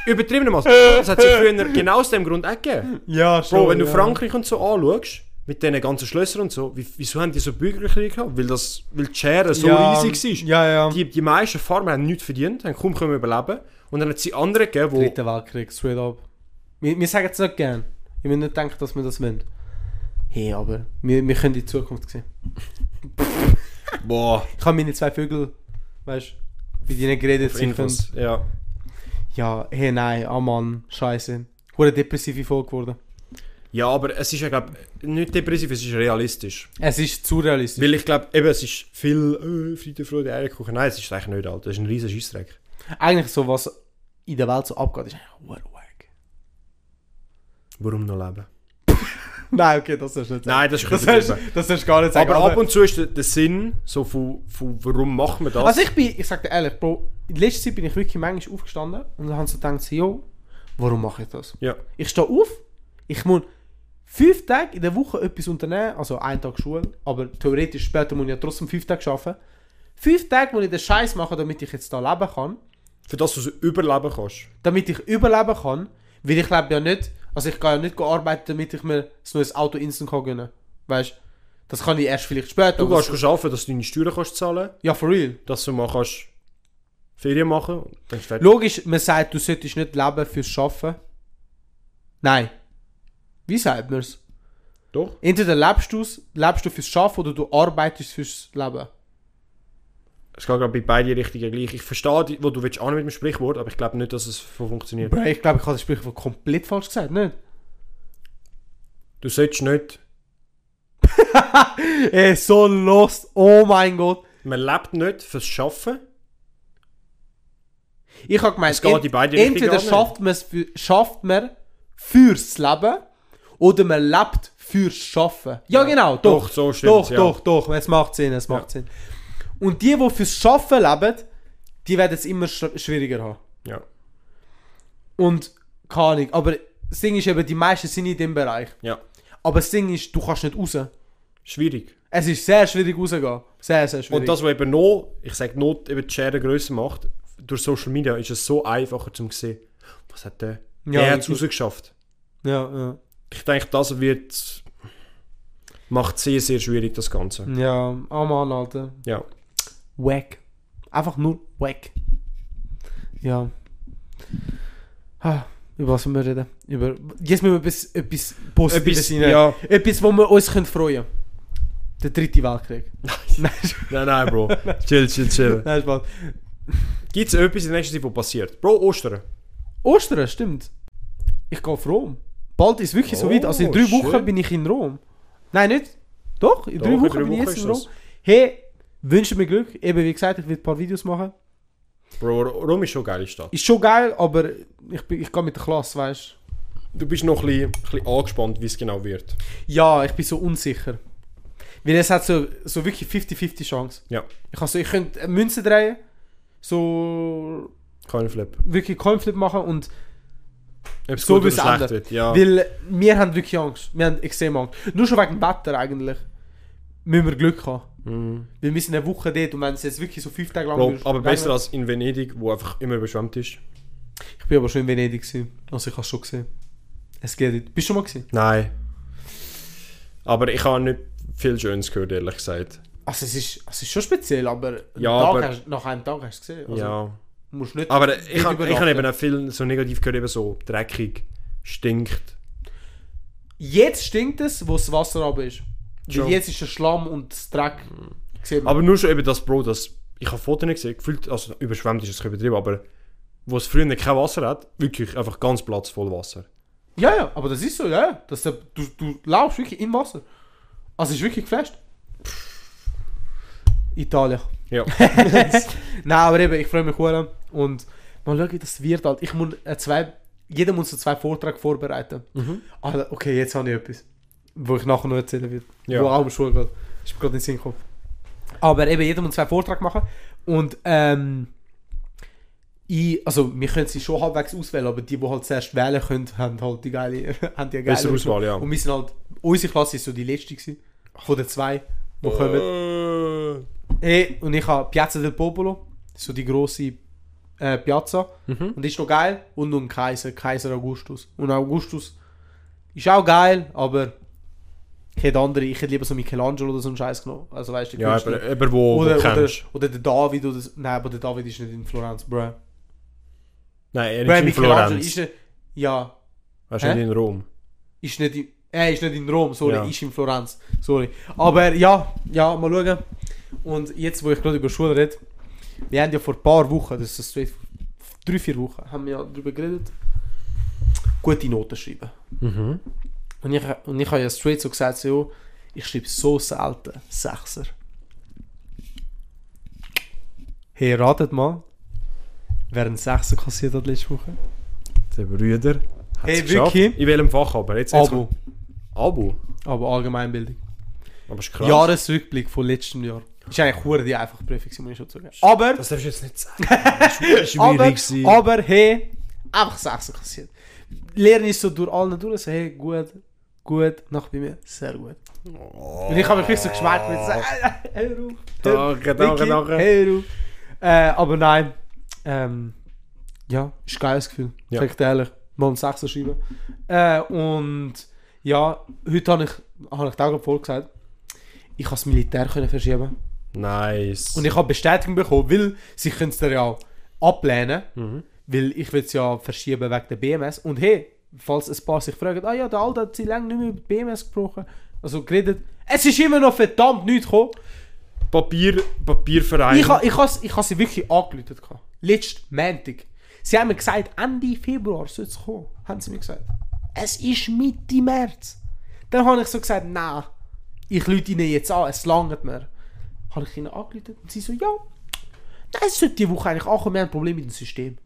[SPEAKER 4] Übertriebenermaßen. Das hat sich früher genau aus dem Grund auch gegeben.
[SPEAKER 3] Ja, schon.
[SPEAKER 4] Bro, wenn du
[SPEAKER 3] ja.
[SPEAKER 4] Frankreich und so anschaust, mit diesen ganzen Schlössern und so, wie, wieso haben die so Bürgerkrieg gehabt? Weil, das, weil die Schere so
[SPEAKER 3] Ja.
[SPEAKER 4] riesig war.
[SPEAKER 3] Ja, ja.
[SPEAKER 4] Die, die meisten Farmer haben nichts verdient, haben kaum können überleben Und dann hat es andere gegeben, die...
[SPEAKER 3] Dritten Weltkrieg, straight up. Wir, wir sagen es nicht gern. Ich will nicht denken, dass wir das wollen. Hey, aber wir, wir können die Zukunft sehen.
[SPEAKER 4] Boah,
[SPEAKER 3] Ich habe meine zwei Vögel, weißt du, bei denen geredet. sie können-
[SPEAKER 4] Infos. Ja.
[SPEAKER 3] Ja, hey, nein, ah Mann, scheiße. Wurde depressive Folge geworden.
[SPEAKER 4] ja, aber es ist ja, glaube nicht depressiv, es ist realistisch.
[SPEAKER 3] Es ist zu realistisch.
[SPEAKER 4] Weil ich glaube, eben, es ist viel äh, Friede, Freude, Eierkuchen. Nein, es ist eigentlich nicht, Alter. Das ist ein riesen Scheissdreck.
[SPEAKER 3] Eigentlich so, was in der Welt so abgeht, ist eigentlich hure wack.
[SPEAKER 4] Warum noch leben?
[SPEAKER 3] Nein, okay, das sollst du nicht sagen.
[SPEAKER 4] Nein, das ist
[SPEAKER 3] das sollst, das sollst du gar nicht sagen. Also,
[SPEAKER 4] aber, ab und zu ist der, der Sinn so von, von warum machen wir das?
[SPEAKER 3] Also ich bin, ich sag dir ehrlich, Bro, in letzter Zeit bin ich wirklich manchmal aufgestanden und dann habe so gedacht, so, yo, warum mache ich das?
[SPEAKER 4] ja.
[SPEAKER 3] Ich stehe auf, ich muss fünf Tage in der Woche etwas unternehmen, also einen Tag Schule, aber theoretisch später muss ich ja trotzdem fünf Tage arbeiten. Fünf Tage muss ich den Scheiß machen, damit ich jetzt da leben kann,
[SPEAKER 4] Für das du so überleben kannst.
[SPEAKER 3] damit ich überleben kann, weil ich lebe ja nicht, also ich kann ja nicht arbeiten, damit ich mir ein neues Auto instant kann gönnen kann. Weißt du, das kann ich erst vielleicht später.
[SPEAKER 4] Du
[SPEAKER 3] aber
[SPEAKER 4] kannst
[SPEAKER 3] das-
[SPEAKER 4] arbeiten, dass du deine Steuern kannst zahlen kannst,
[SPEAKER 3] ja, for real.
[SPEAKER 4] dass du mal kannst Ferien machen kannst. Dann ist fertig.
[SPEAKER 3] Logisch, man sagt, du solltest nicht leben fürs Arbeiten. Nein. Wie sagt man es?
[SPEAKER 4] Doch.
[SPEAKER 3] Entweder lebst du lebst du fürs Arbeiten oder du arbeitest fürs Leben.
[SPEAKER 4] Es geht gerade bei beiden Richtungen gleich. Ich verstehe, die- wo du willst, an mit dem Sprichwort, aber ich glaube nicht, dass es so funktioniert.
[SPEAKER 3] Bro, ich glaube, ich habe das Sprichwort komplett falsch gesagt, nicht?
[SPEAKER 4] Du solltest nicht...
[SPEAKER 3] Ey, so lost, oh mein Gott.
[SPEAKER 4] Man lebt nicht fürs Arbeiten.
[SPEAKER 3] Ich habe gemeint,
[SPEAKER 4] Es geht in beide Richtungen
[SPEAKER 3] entweder
[SPEAKER 4] auch nicht.
[SPEAKER 3] schafft man, es für, schafft man fürs Leben oder man lebt fürs Schaffen. Ja, genau, doch.
[SPEAKER 4] doch, so stimmt's,
[SPEAKER 3] Doch,
[SPEAKER 4] ja.
[SPEAKER 3] doch, doch, es macht Sinn, es macht Sinn. Und die, die fürs Schaffen leben, die werden es immer sch schwieriger haben.
[SPEAKER 4] Ja.
[SPEAKER 3] Und keine Ahnung, aber das Ding ist eben, die meisten sind in dem Bereich.
[SPEAKER 4] Ja.
[SPEAKER 3] Aber das Ding ist, du kannst nicht raus.
[SPEAKER 4] Schwierig.
[SPEAKER 3] Es ist sehr schwierig rauszugehen. Sehr, sehr schwierig.
[SPEAKER 4] Und das, was eben noch, ich sage Not, eben die Schere grösser macht, durch Social Media ist es so einfacher zum sehen, was hat der?
[SPEAKER 3] Ja,
[SPEAKER 4] der hat es
[SPEAKER 3] wirklich.
[SPEAKER 4] rausgeschafft.
[SPEAKER 3] ja, ja.
[SPEAKER 4] Ich denke, das wird. macht sehr, sehr schwierig, das Ganze.
[SPEAKER 3] Ja, oh Mann, Alter.
[SPEAKER 4] Ja.
[SPEAKER 3] Wack. Einfach nur wack. Ja. Ah, über was müssen wir reden? Über, jetzt müssen wir etwas, etwas Positives
[SPEAKER 4] Etwas-
[SPEAKER 3] rein.
[SPEAKER 4] ja.
[SPEAKER 3] Etwas, wo wir uns können freuen können. Der dritte Weltkrieg. Nein,
[SPEAKER 4] Nein, nein, Bro. chill, chill, chill.
[SPEAKER 3] nein, Spaß.
[SPEAKER 4] Gibt es etwas in der nächsten Zeit, was passiert? Bro, Ostern.
[SPEAKER 3] Ostern, stimmt. Ich gehe auf Rom. Bald ist wirklich so weit. Also in
[SPEAKER 4] Oh,
[SPEAKER 3] drei
[SPEAKER 4] schön.
[SPEAKER 3] Wochen bin ich in Rom. Nein, nicht. Doch, in
[SPEAKER 4] Doch,
[SPEAKER 3] drei
[SPEAKER 4] in
[SPEAKER 3] Wochen
[SPEAKER 4] drei
[SPEAKER 3] bin ich
[SPEAKER 4] Wochen
[SPEAKER 3] jetzt
[SPEAKER 4] ist
[SPEAKER 3] im
[SPEAKER 4] das.
[SPEAKER 3] Rom. Hey, wünsche mir Glück. Eben, wie gesagt, ich werde ein paar Videos machen.
[SPEAKER 4] Bro, Rom ist schon eine geile Stadt.
[SPEAKER 3] Ist schon geil, aber ich, bin, ich gehe mit der Klasse, weißt du.
[SPEAKER 4] Du bist noch ein bisschen, ein bisschen angespannt, wie es genau wird.
[SPEAKER 3] Ja, ich bin so unsicher. Weil es hat so, so wirklich 50-50 Chance.
[SPEAKER 4] Ja,
[SPEAKER 3] Ich, kann so, ich könnte eine Münze drehen, so
[SPEAKER 4] kein Flip.
[SPEAKER 3] wirklich Coinflip machen und
[SPEAKER 4] Ob es
[SPEAKER 3] So
[SPEAKER 4] gut oder
[SPEAKER 3] wird's
[SPEAKER 4] schlecht
[SPEAKER 3] ändern.
[SPEAKER 4] wird, ja.
[SPEAKER 3] weil wir haben wirklich Angst. Wir haben extrem Angst. Nur schon wegen dem Wetter eigentlich müssen wir Glück haben.
[SPEAKER 4] Mhm.
[SPEAKER 3] Weil wir sind eine Woche dort und wenn es jetzt wirklich so fünf Tage lang
[SPEAKER 4] Bro,
[SPEAKER 3] würde-
[SPEAKER 4] aber besser als in Venedig, wo einfach immer überschwemmt ist.
[SPEAKER 3] Ich bin aber schon in Venedig gewesen. Also ich habe schon gesehen. Es geht nicht. Bist du schon mal gesehen?
[SPEAKER 4] Nein. Aber ich habe nicht viel Schönes gehört, ehrlich gesagt.
[SPEAKER 3] Also es ist, es ist schon speziell, aber,
[SPEAKER 4] Ja,
[SPEAKER 3] einen Tag
[SPEAKER 4] aber-
[SPEAKER 3] hast, nach einem Tag hast du es gesehen. Also
[SPEAKER 4] ja.
[SPEAKER 3] musst nicht
[SPEAKER 4] Aber
[SPEAKER 3] nicht
[SPEAKER 4] ich habe ich
[SPEAKER 3] übernachten.
[SPEAKER 4] hab eben auch viel so negativ gehört, eben so dreckig, stinkt.
[SPEAKER 3] Jetzt stinkt es, wo das Wasser runter ist.
[SPEAKER 4] Schon.
[SPEAKER 3] Weil jetzt ist der Schlamm und das Dreck. Sieht man.
[SPEAKER 4] Mhm. Aber nur schon eben das Bro, das, ich habe Fotos nicht gesehen, gefühlt, also überschwemmt ist es übertrieben, aber wo es früher kein Wasser hat, wirklich einfach ganz Platz voll Wasser.
[SPEAKER 3] ja, ja, aber das ist so, ja. ja. Das, du, du laufst wirklich im Wasser. Also es ist wirklich fest. Italien.
[SPEAKER 4] Ja.
[SPEAKER 3] Nein, aber eben, ich freue mich sehr. Und mal schauen, wie das wird halt. Ich muss äh, zwei, jeder muss so zwei Vorträge vorbereiten.
[SPEAKER 4] Mhm.
[SPEAKER 3] Alter, okay, jetzt habe ich etwas, wo ich nachher noch erzählen werde.
[SPEAKER 4] Ja.
[SPEAKER 3] Wo auch um Schule geht. Ist mir gerade in den Sinn gekommen. Aber eben, jeder muss zwei Vorträge machen. Und ähm, ich, also wir können sie schon halbwegs auswählen, aber die, die halt zuerst wählen können, haben halt die geile, haben die geile
[SPEAKER 4] Bessere Auswahl, ja.
[SPEAKER 3] Und wir sind halt, unsere Klasse ist so die letzte gewesen, von den zwei, die kommen. Hey, und ich habe Piazza del Popolo, so die grosse äh, Piazza.
[SPEAKER 4] Mhm.
[SPEAKER 3] Und die ist noch geil. Und noch ein Kaiser, Kaiser Augustus. Und Augustus ist auch geil, aber ich hätte andere, ich hätte lieber so Michelangelo oder so einen Scheiß genommen. Also weißt du,
[SPEAKER 4] Ja,
[SPEAKER 3] Künstler.
[SPEAKER 4] aber, äh, aber wo,
[SPEAKER 3] oder,
[SPEAKER 4] wo
[SPEAKER 3] oder,
[SPEAKER 4] kennst du?
[SPEAKER 3] oder der David oder so. Nein, aber der David ist nicht in Florenz, bruh.
[SPEAKER 4] Nein, er
[SPEAKER 3] Bruh,
[SPEAKER 4] ist in
[SPEAKER 3] Michelangelo also ist
[SPEAKER 4] Florenz.
[SPEAKER 3] nicht. Ja,
[SPEAKER 4] Er ist
[SPEAKER 3] Hä?
[SPEAKER 4] nicht in Rom.
[SPEAKER 3] ist nicht in, er ist nicht in Rom, sorry,
[SPEAKER 4] Ja.
[SPEAKER 3] ist in Florenz, sorry. Aber ja, ja, mal schauen. Und jetzt, wo ich gerade über Schule rede, wir haben ja vor ein paar Wochen, das ist straight, drei, vier Wochen, haben wir ja darüber geredet, gute Noten schreiben. Und ich, und ich habe ja straight so gesagt, so, «Jo, ich schreibe so selten Sechser. Hey, ratet mal, wer einen Sechser kassiert hat letzte Woche?
[SPEAKER 4] Der Brüder hat
[SPEAKER 3] Hey,
[SPEAKER 4] geschafft.
[SPEAKER 3] wirklich?
[SPEAKER 4] In welchem Fach aber? Jetzt, jetzt
[SPEAKER 3] Abo,
[SPEAKER 4] Abo.
[SPEAKER 3] aber Allgemeinbildung.
[SPEAKER 4] Aber ist krass.
[SPEAKER 3] Jahresrückblick von letztem Jahr. Ist eigentlich hure die einfache Prüfung, gewesen, muss ich schon sagen. Aber,
[SPEAKER 4] Das darfst du jetzt nicht sagen. Das ist
[SPEAKER 3] aber,
[SPEAKER 4] schwierig gewesen.
[SPEAKER 3] aber, hey, einfach 6 kassiert. Lehren ist so durch alle durch, so, hey, gut, gut, nach bei mir, sehr gut.
[SPEAKER 4] Oh.
[SPEAKER 3] Und ich habe mich wirklich so geschmeckt mit so, hey, Ruf,
[SPEAKER 4] Danke, danke, danke.
[SPEAKER 3] hey, Ruf. Äh, aber nein, ähm, ja, ist ein geiles Gefühl,
[SPEAKER 4] Ja.
[SPEAKER 3] sag ich dir ehrlich. Mal einen 6 schreiben. Äh, und ja, heute habe ich, habe ich dir auch voll gesagt, ich kann das Militär können verschieben.
[SPEAKER 4] Nice.
[SPEAKER 3] Und ich habe Bestätigung bekommen, weil sie können es dir ja auch ablehnen, weil ich will es ja verschieben wegen der BMS. Und hey, falls ein paar sich fragen, ah ja, der Alter hat sie lange nicht mehr über die BMS gesprochen, also geredet, es ist immer noch verdammt nichts gekommen.
[SPEAKER 4] Papier, Papierverein.
[SPEAKER 3] Ich, ha- ich habe ich ha sie wirklich angeläutet. gehabt. Letzten Montag. Sie haben mir gesagt, Ende Februar soll es kommen. Haben sie mir gesagt. Es ist Mitte März. Dann habe ich so gesagt, nein, ich lüte ihnen jetzt an, es langt mir. Habe ich ihnen angeläutet und sie so, ja. Nein, es sollte die Woche eigentlich ankommen, wir haben ein Problem mit dem System.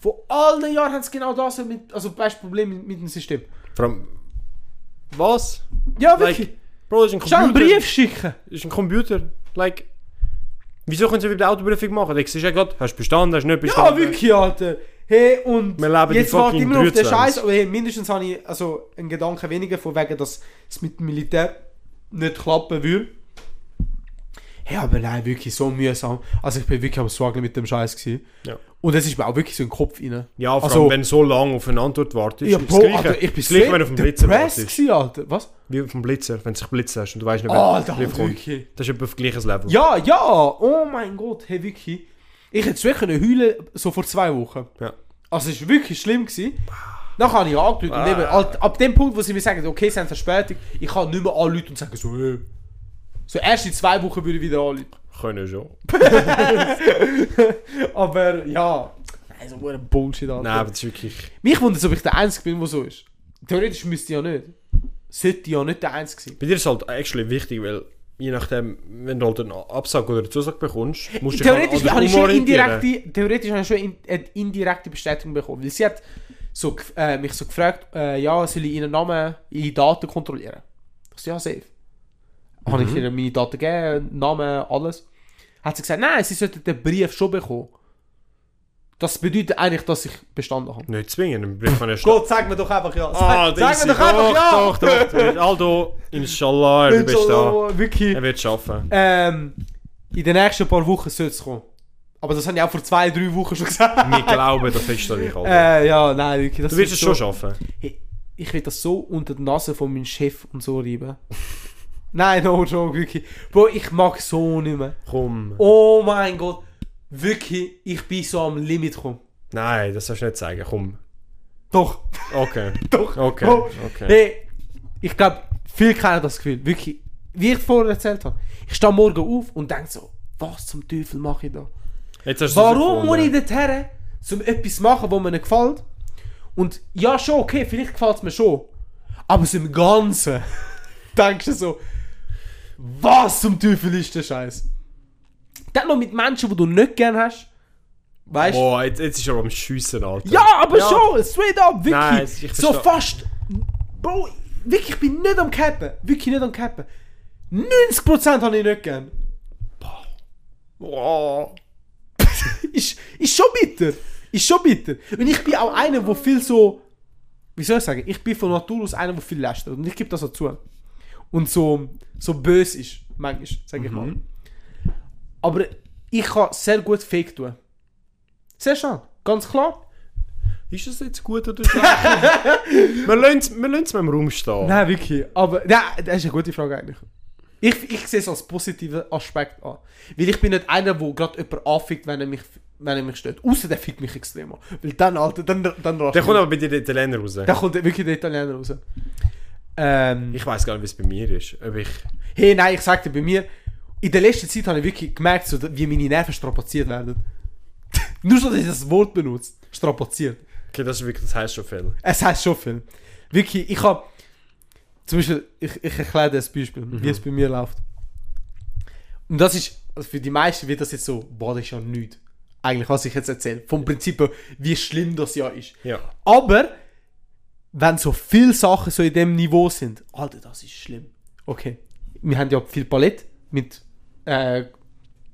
[SPEAKER 3] Vor allen Jahren haben sie genau das, mit, also weißt, Problem mit, mit dem System.
[SPEAKER 4] Vor allem- Was?
[SPEAKER 3] Ja, wirklich.
[SPEAKER 4] Like, Bro, das ist ein
[SPEAKER 3] Schau,
[SPEAKER 4] Computer.
[SPEAKER 3] einen Brief schicken.
[SPEAKER 4] Das ist ein Computer. Like, wieso können sie bei der Autoprüfung machen? Ich sehe ja gerade, hast du bestanden, hast du nicht bestanden.
[SPEAKER 3] Ja, Ah, wirklich, Alter. Hey, und
[SPEAKER 4] Wir leben
[SPEAKER 3] jetzt
[SPEAKER 4] in
[SPEAKER 3] warte
[SPEAKER 4] fucking
[SPEAKER 3] immer auf den
[SPEAKER 4] 23.
[SPEAKER 3] Scheiß. Aber hey, mindestens habe ich also einen Gedanken weniger von wegen, dass es mit dem Militär nicht klappen würde. Hey, aber nein, wirklich so mühsam. Also ich bin wirklich am Struggle mit dem Scheiß gewesen.
[SPEAKER 4] Ja.
[SPEAKER 3] Und es ist mir auch wirklich so im Kopf rein.
[SPEAKER 4] Ja, vor allem,
[SPEAKER 3] also,
[SPEAKER 4] wenn du so lange auf eine Antwort wartest.
[SPEAKER 3] ja,
[SPEAKER 4] ist
[SPEAKER 3] Bro, Alter, ich bin
[SPEAKER 4] das Gleiche, wenn du auf dem Blitzer
[SPEAKER 3] depressed
[SPEAKER 4] wartest.
[SPEAKER 3] gewesen, Alter. Was?
[SPEAKER 4] Wie auf dem Blitzer, wenn du dich blitzen hast und du weißt nicht,
[SPEAKER 3] Ah,
[SPEAKER 4] wer
[SPEAKER 3] Alter,
[SPEAKER 4] Brief kommt.
[SPEAKER 3] wirklich.
[SPEAKER 4] Das ist etwa auf gleiches Level.
[SPEAKER 3] Ja, ja, oh mein Gott, hey, wirklich. Ich hätte wirklich können heulen so vor zwei Wochen.
[SPEAKER 4] Ja.
[SPEAKER 3] Also es war wirklich schlimm. Gewesen. Dann habe ich angerufen und eben, alt- ab dem Punkt, wo sie mir sagen, okay, sie haben Verspätung, ich kann nicht mehr anrufen und sagen so, äh. So erst in zwei Wochen würde ich wieder anrufen.
[SPEAKER 4] Können schon.
[SPEAKER 3] Aber ja, nein, so ein Bullshit, Alter.
[SPEAKER 4] Nein, aber das ist wirklich.
[SPEAKER 3] Mich wundert es, ob ich der Einzige bin, der so ist. Theoretisch müsste ich ja nicht. sollte ja nicht der Einzige sein.
[SPEAKER 4] Bei dir ist es halt actually wichtig, weil je nachdem, wenn du halt einen Absag oder einen Zusag bekommst, musst du dich
[SPEAKER 3] Theoretisch
[SPEAKER 4] halt
[SPEAKER 3] habe ich
[SPEAKER 4] anders
[SPEAKER 3] schon
[SPEAKER 4] umorientieren.
[SPEAKER 3] indirekte, theoretisch habe ich schon in, eine indirekte Bestätigung bekommen, weil sie hat so, gef- äh, mich so gefragt, äh, ja, soll ich ihren Namen, ihre Daten kontrollieren? Ich so, ja, safe. Habe ich ihr meine Daten gegeben, Namen, alles. Hat sie gesagt, nein, sie sollten den Brief schon bekommen. Das bedeutet eigentlich, dass ich bestanden habe.
[SPEAKER 4] Nicht zwingen, im Brief kann ich
[SPEAKER 3] Gott, sag mir doch einfach ja.
[SPEAKER 4] Ah,
[SPEAKER 3] sag sag mir doch einfach ja.
[SPEAKER 4] Doch, doch, doch. Aldo, inshallah, er
[SPEAKER 3] Nicht
[SPEAKER 4] bist da.
[SPEAKER 3] so, wirklich.
[SPEAKER 4] Er wird schaffen.
[SPEAKER 3] Ähm, eh, in den nächsten paar Wochen soll es kommen. Aber das habe ich auch vor zwei, drei Wochen schon gesagt.
[SPEAKER 4] Wir glauben, das ist doch nicht Aldo.
[SPEAKER 3] Äh, ja, nein, wirklich. Das
[SPEAKER 4] du wirst es
[SPEAKER 3] ist
[SPEAKER 4] schon
[SPEAKER 3] so-
[SPEAKER 4] schaffen.
[SPEAKER 3] Hey, ich will das so unter die Nase von meinem Chef und so reiben. nein, no joke, wirklich. Bro, ich mag so nicht mehr.
[SPEAKER 4] Komm.
[SPEAKER 3] Oh mein Gott. Wirklich, ich bin so am Limit gekommen.
[SPEAKER 4] Nein, das sollst du nicht sagen. Komm.
[SPEAKER 3] Doch.
[SPEAKER 4] Okay.
[SPEAKER 3] Doch.
[SPEAKER 4] Okay.
[SPEAKER 3] Oh.
[SPEAKER 4] okay.
[SPEAKER 3] Hey, ich glaube, viele kennen das Gefühl. Wirklich, wie ich vorher erzählt habe. Ich stehe morgen auf und denke so, was zum Teufel mache ich da?
[SPEAKER 4] Jetzt hast du es
[SPEAKER 3] Warum muss ich
[SPEAKER 4] gefunden.
[SPEAKER 3] dort her, um etwas zu machen, das mir nicht gefällt? Und ja, schon, okay, vielleicht gefällt es mir schon. Aber so im Ganzen denkst du so, was zum Teufel ist der Scheiß? Dann noch mit Menschen, die du nicht gern hast. Weißt du?
[SPEAKER 4] Boah, Oh, jetzt, jetzt ist er am Schiessen, Alter.
[SPEAKER 3] Ja, aber schon, straight up, wirklich.
[SPEAKER 4] Nein, ich
[SPEAKER 3] so
[SPEAKER 4] verstehe.
[SPEAKER 3] fast. Bro, wirklich, ich bin nicht am Cappen. Wirklich nicht am Cappen. 90% habe ich nicht gern.
[SPEAKER 4] Boah.
[SPEAKER 3] ist, ist schon bitter. Ist schon bitter. Und ich bin auch einer, der viel so. Wie soll ich sagen? Ich bin von Natur aus einer, der viel lästert. Und ich gebe das auch zu. Und so, so böse ist, manchmal, sage ich mal. Aber ich kann sehr gut fake tun. Sehr schnell. Ganz klar.
[SPEAKER 4] Ist das jetzt gut oder schlecht? wir lassen es wir lassen's mal im Raum stehen.
[SPEAKER 3] Nein, wirklich. Aber nein, das ist eine gute Frage eigentlich. Ich, ich sehe es als positiven Aspekt an. Weil ich bin nicht einer, der gerade jemanden anfickt, wenn er mich, wenn er mich stört. Außer der fickt mich extrem an. Weil dann, Alter, dann, dann, dann
[SPEAKER 4] Der kommt aber bei dir der Italiener raus.
[SPEAKER 3] Da kommt wirklich der Italiener raus. Ähm,
[SPEAKER 4] Ich weiß gar nicht, wie es bei mir ist. Ob ich...
[SPEAKER 3] hey, nein, ich sagte bei mir, in der letzten Zeit habe ich wirklich gemerkt, so, wie meine Nerven strapaziert werden. Nur so, dass ich das Wort benutze. Strapaziert.
[SPEAKER 4] Okay, das, ist wirklich, das heisst schon viel.
[SPEAKER 3] Es heißt schon viel. Wirklich, ich habe. Zum Beispiel, ich, ich erkläre dir ein Beispiel, wie es bei mir läuft. Und das ist, also für die meisten wird das jetzt so, boah, das ist ja nichts. Eigentlich, was ich jetzt erzähle. Vom Prinzip, her, wie schlimm das ja ist.
[SPEAKER 4] Ja.
[SPEAKER 3] Aber wenn so viele Sachen so in dem Niveau sind, Alter, das ist schlimm. Okay. Wir haben ja viel Palette mit äh,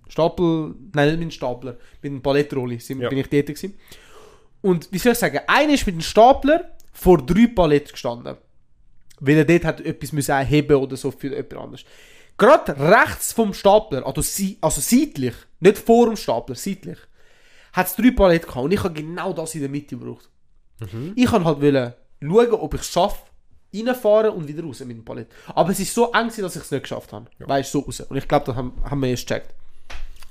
[SPEAKER 3] Stapel, nein, nicht mit dem Stapler, mit dem Palettrolli sind,
[SPEAKER 4] Ja.
[SPEAKER 3] bin ich tätig gewesen. Und wie soll ich sagen, einer ist mit dem Stapler vor drei Paletten gestanden. Weil er dort hat etwas müssen heben oder so für jemand anderes. Gerade rechts vom Stapler, also, sie, also seitlich, nicht vor dem Stapler, seitlich, hat es drei Paletten gehabt und ich habe genau das in der Mitte gebraucht. Ich kann halt wollen schauen, ob ich es schaffe, reinfahren und wieder raus mit dem Palett. Aber es ist so eng, gewesen, dass ich es nicht geschafft habe. Weißt du, so raus. Und ich glaube, das haben, haben wir erst gecheckt.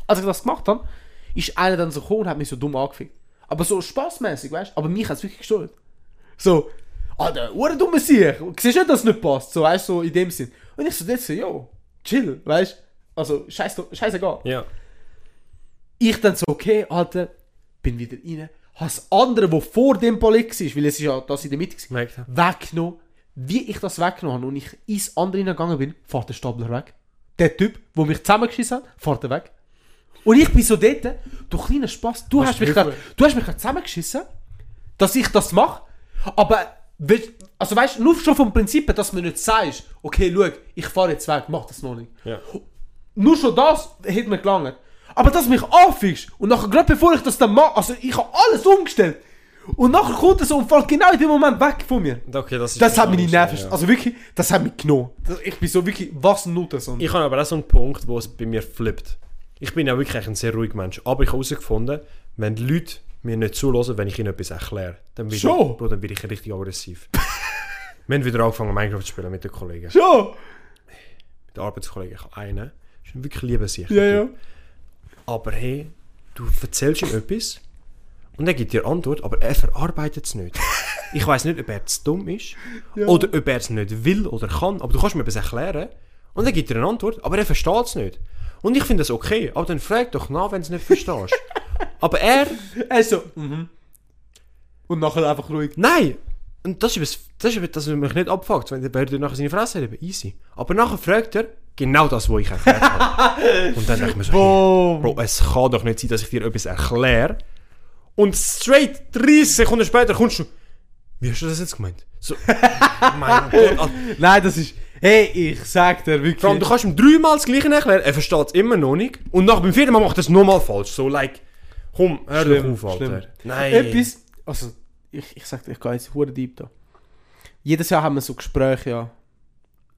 [SPEAKER 3] Als ich das gemacht habe, ist einer dann so gekommen und hat mich so dumm angefickt. Aber so spaßmäßig, weißt du? Aber mich hat es wirklich gestört. So, Alter, hure dumme Sieg. Siehst du nicht, dass es nicht passt? So, weißt du, so in dem Sinn. Und ich so, dort so, yo, chill, weißt du? Also, scheiß, scheißegal.
[SPEAKER 4] Ja.
[SPEAKER 3] Ich dann so, okay, Alter, bin wieder rein. Has andere, wo vor dem Palett war, weil es ist ja das in der Mitte war,
[SPEAKER 4] Merkt er.
[SPEAKER 3] weggenommen. Wie ich das weggenommen habe und ich ins andere gegangen bin, fährt der Stapler weg. Der Typ, der mich zusammengeschissen hat, fährt er weg. Und ich bin so dort, du kleiner Spaß, du hast,
[SPEAKER 4] du
[SPEAKER 3] mich
[SPEAKER 4] Hilfe?
[SPEAKER 3] grad, du hast mich grad zusammengeschissen, dass ich das mache, aber willst- also weißt du, nur schon vom Prinzip, her, dass man nicht sagst, okay, schau, ich fahre jetzt weg, mach das noch nicht.
[SPEAKER 4] Ja.
[SPEAKER 3] Nur schon das hätte mir gelangt. Aber dass du mich anfickst und nachher, gerade bevor ich das dann mache, also ich habe alles umgestellt und nachher kommt er so und fällt genau in dem Moment weg von mir.
[SPEAKER 4] Okay, das ist
[SPEAKER 3] Das hat meine Nerven,
[SPEAKER 4] Ja.
[SPEAKER 3] also wirklich, das hat mich genommen. Das- Ich bin so wirklich, was nutzt das?
[SPEAKER 4] Ich habe aber auch so einen Punkt, wo es bei mir flippt. Ich bin ja wirklich ein sehr ruhiger Mensch. Aber ich habe herausgefunden, wenn die Leute mir nicht zulassen, wenn ich ihnen etwas erkläre, dann bin,
[SPEAKER 3] Schon?
[SPEAKER 4] ich, Bro, dann bin ich richtig aggressiv. Wir haben wieder angefangen, Minecraft zu spielen mit den Kollegen.
[SPEAKER 3] Schon?
[SPEAKER 4] Mit den Arbeitskollegen. Ich habe einen. Ist ein wirklich lieber sich.
[SPEAKER 3] Ja, ja.
[SPEAKER 4] Aber hey, du erzählst ihm etwas und er gibt dir Antwort, aber er verarbeitet es nicht. Ich weiß nicht, ob er zu dumm ist oder ob er es nicht will oder kann, aber du kannst mir etwas erklären und er gibt dir eine Antwort, aber er versteht es nicht. Und ich finde das okay, aber dann frag doch nach, wenn du es nicht verstehst. aber er,
[SPEAKER 3] Also, mhm. Und nachher einfach ruhig.
[SPEAKER 4] nein, Und das ist, eben- das ist eben, dass man mich nicht abfuckt, wenn der Bär nachher seine Fresse hat, eben easy. Aber nachher fragt er genau das, was ich erklärt habe. Und dann denke ich mir so, hey,
[SPEAKER 3] Boom.
[SPEAKER 4] Bro, es kann doch nicht sein, dass ich dir etwas erkläre. Und straight 30 Sekunden später kommst du, wie hast du das jetzt gemeint? So, mein Gott, Alter.
[SPEAKER 3] Nein, das ist... Hey, ich sag dir
[SPEAKER 4] Vor allem, du
[SPEAKER 3] wirklich...
[SPEAKER 4] kannst ihm dreimal das Gleiche erklären, er versteht es immer noch nicht. Und nach beim vierten Mal macht er es nochmal falsch. So, like, komm, hör
[SPEAKER 3] Schlimm,
[SPEAKER 4] doch auf, Alter.
[SPEAKER 3] schlimm.
[SPEAKER 4] Nein.
[SPEAKER 3] Etwas... Also, ich, ich sag dir, ich gehe jetzt hure deep da. Jedes Jahr haben wir so Gespräche ja,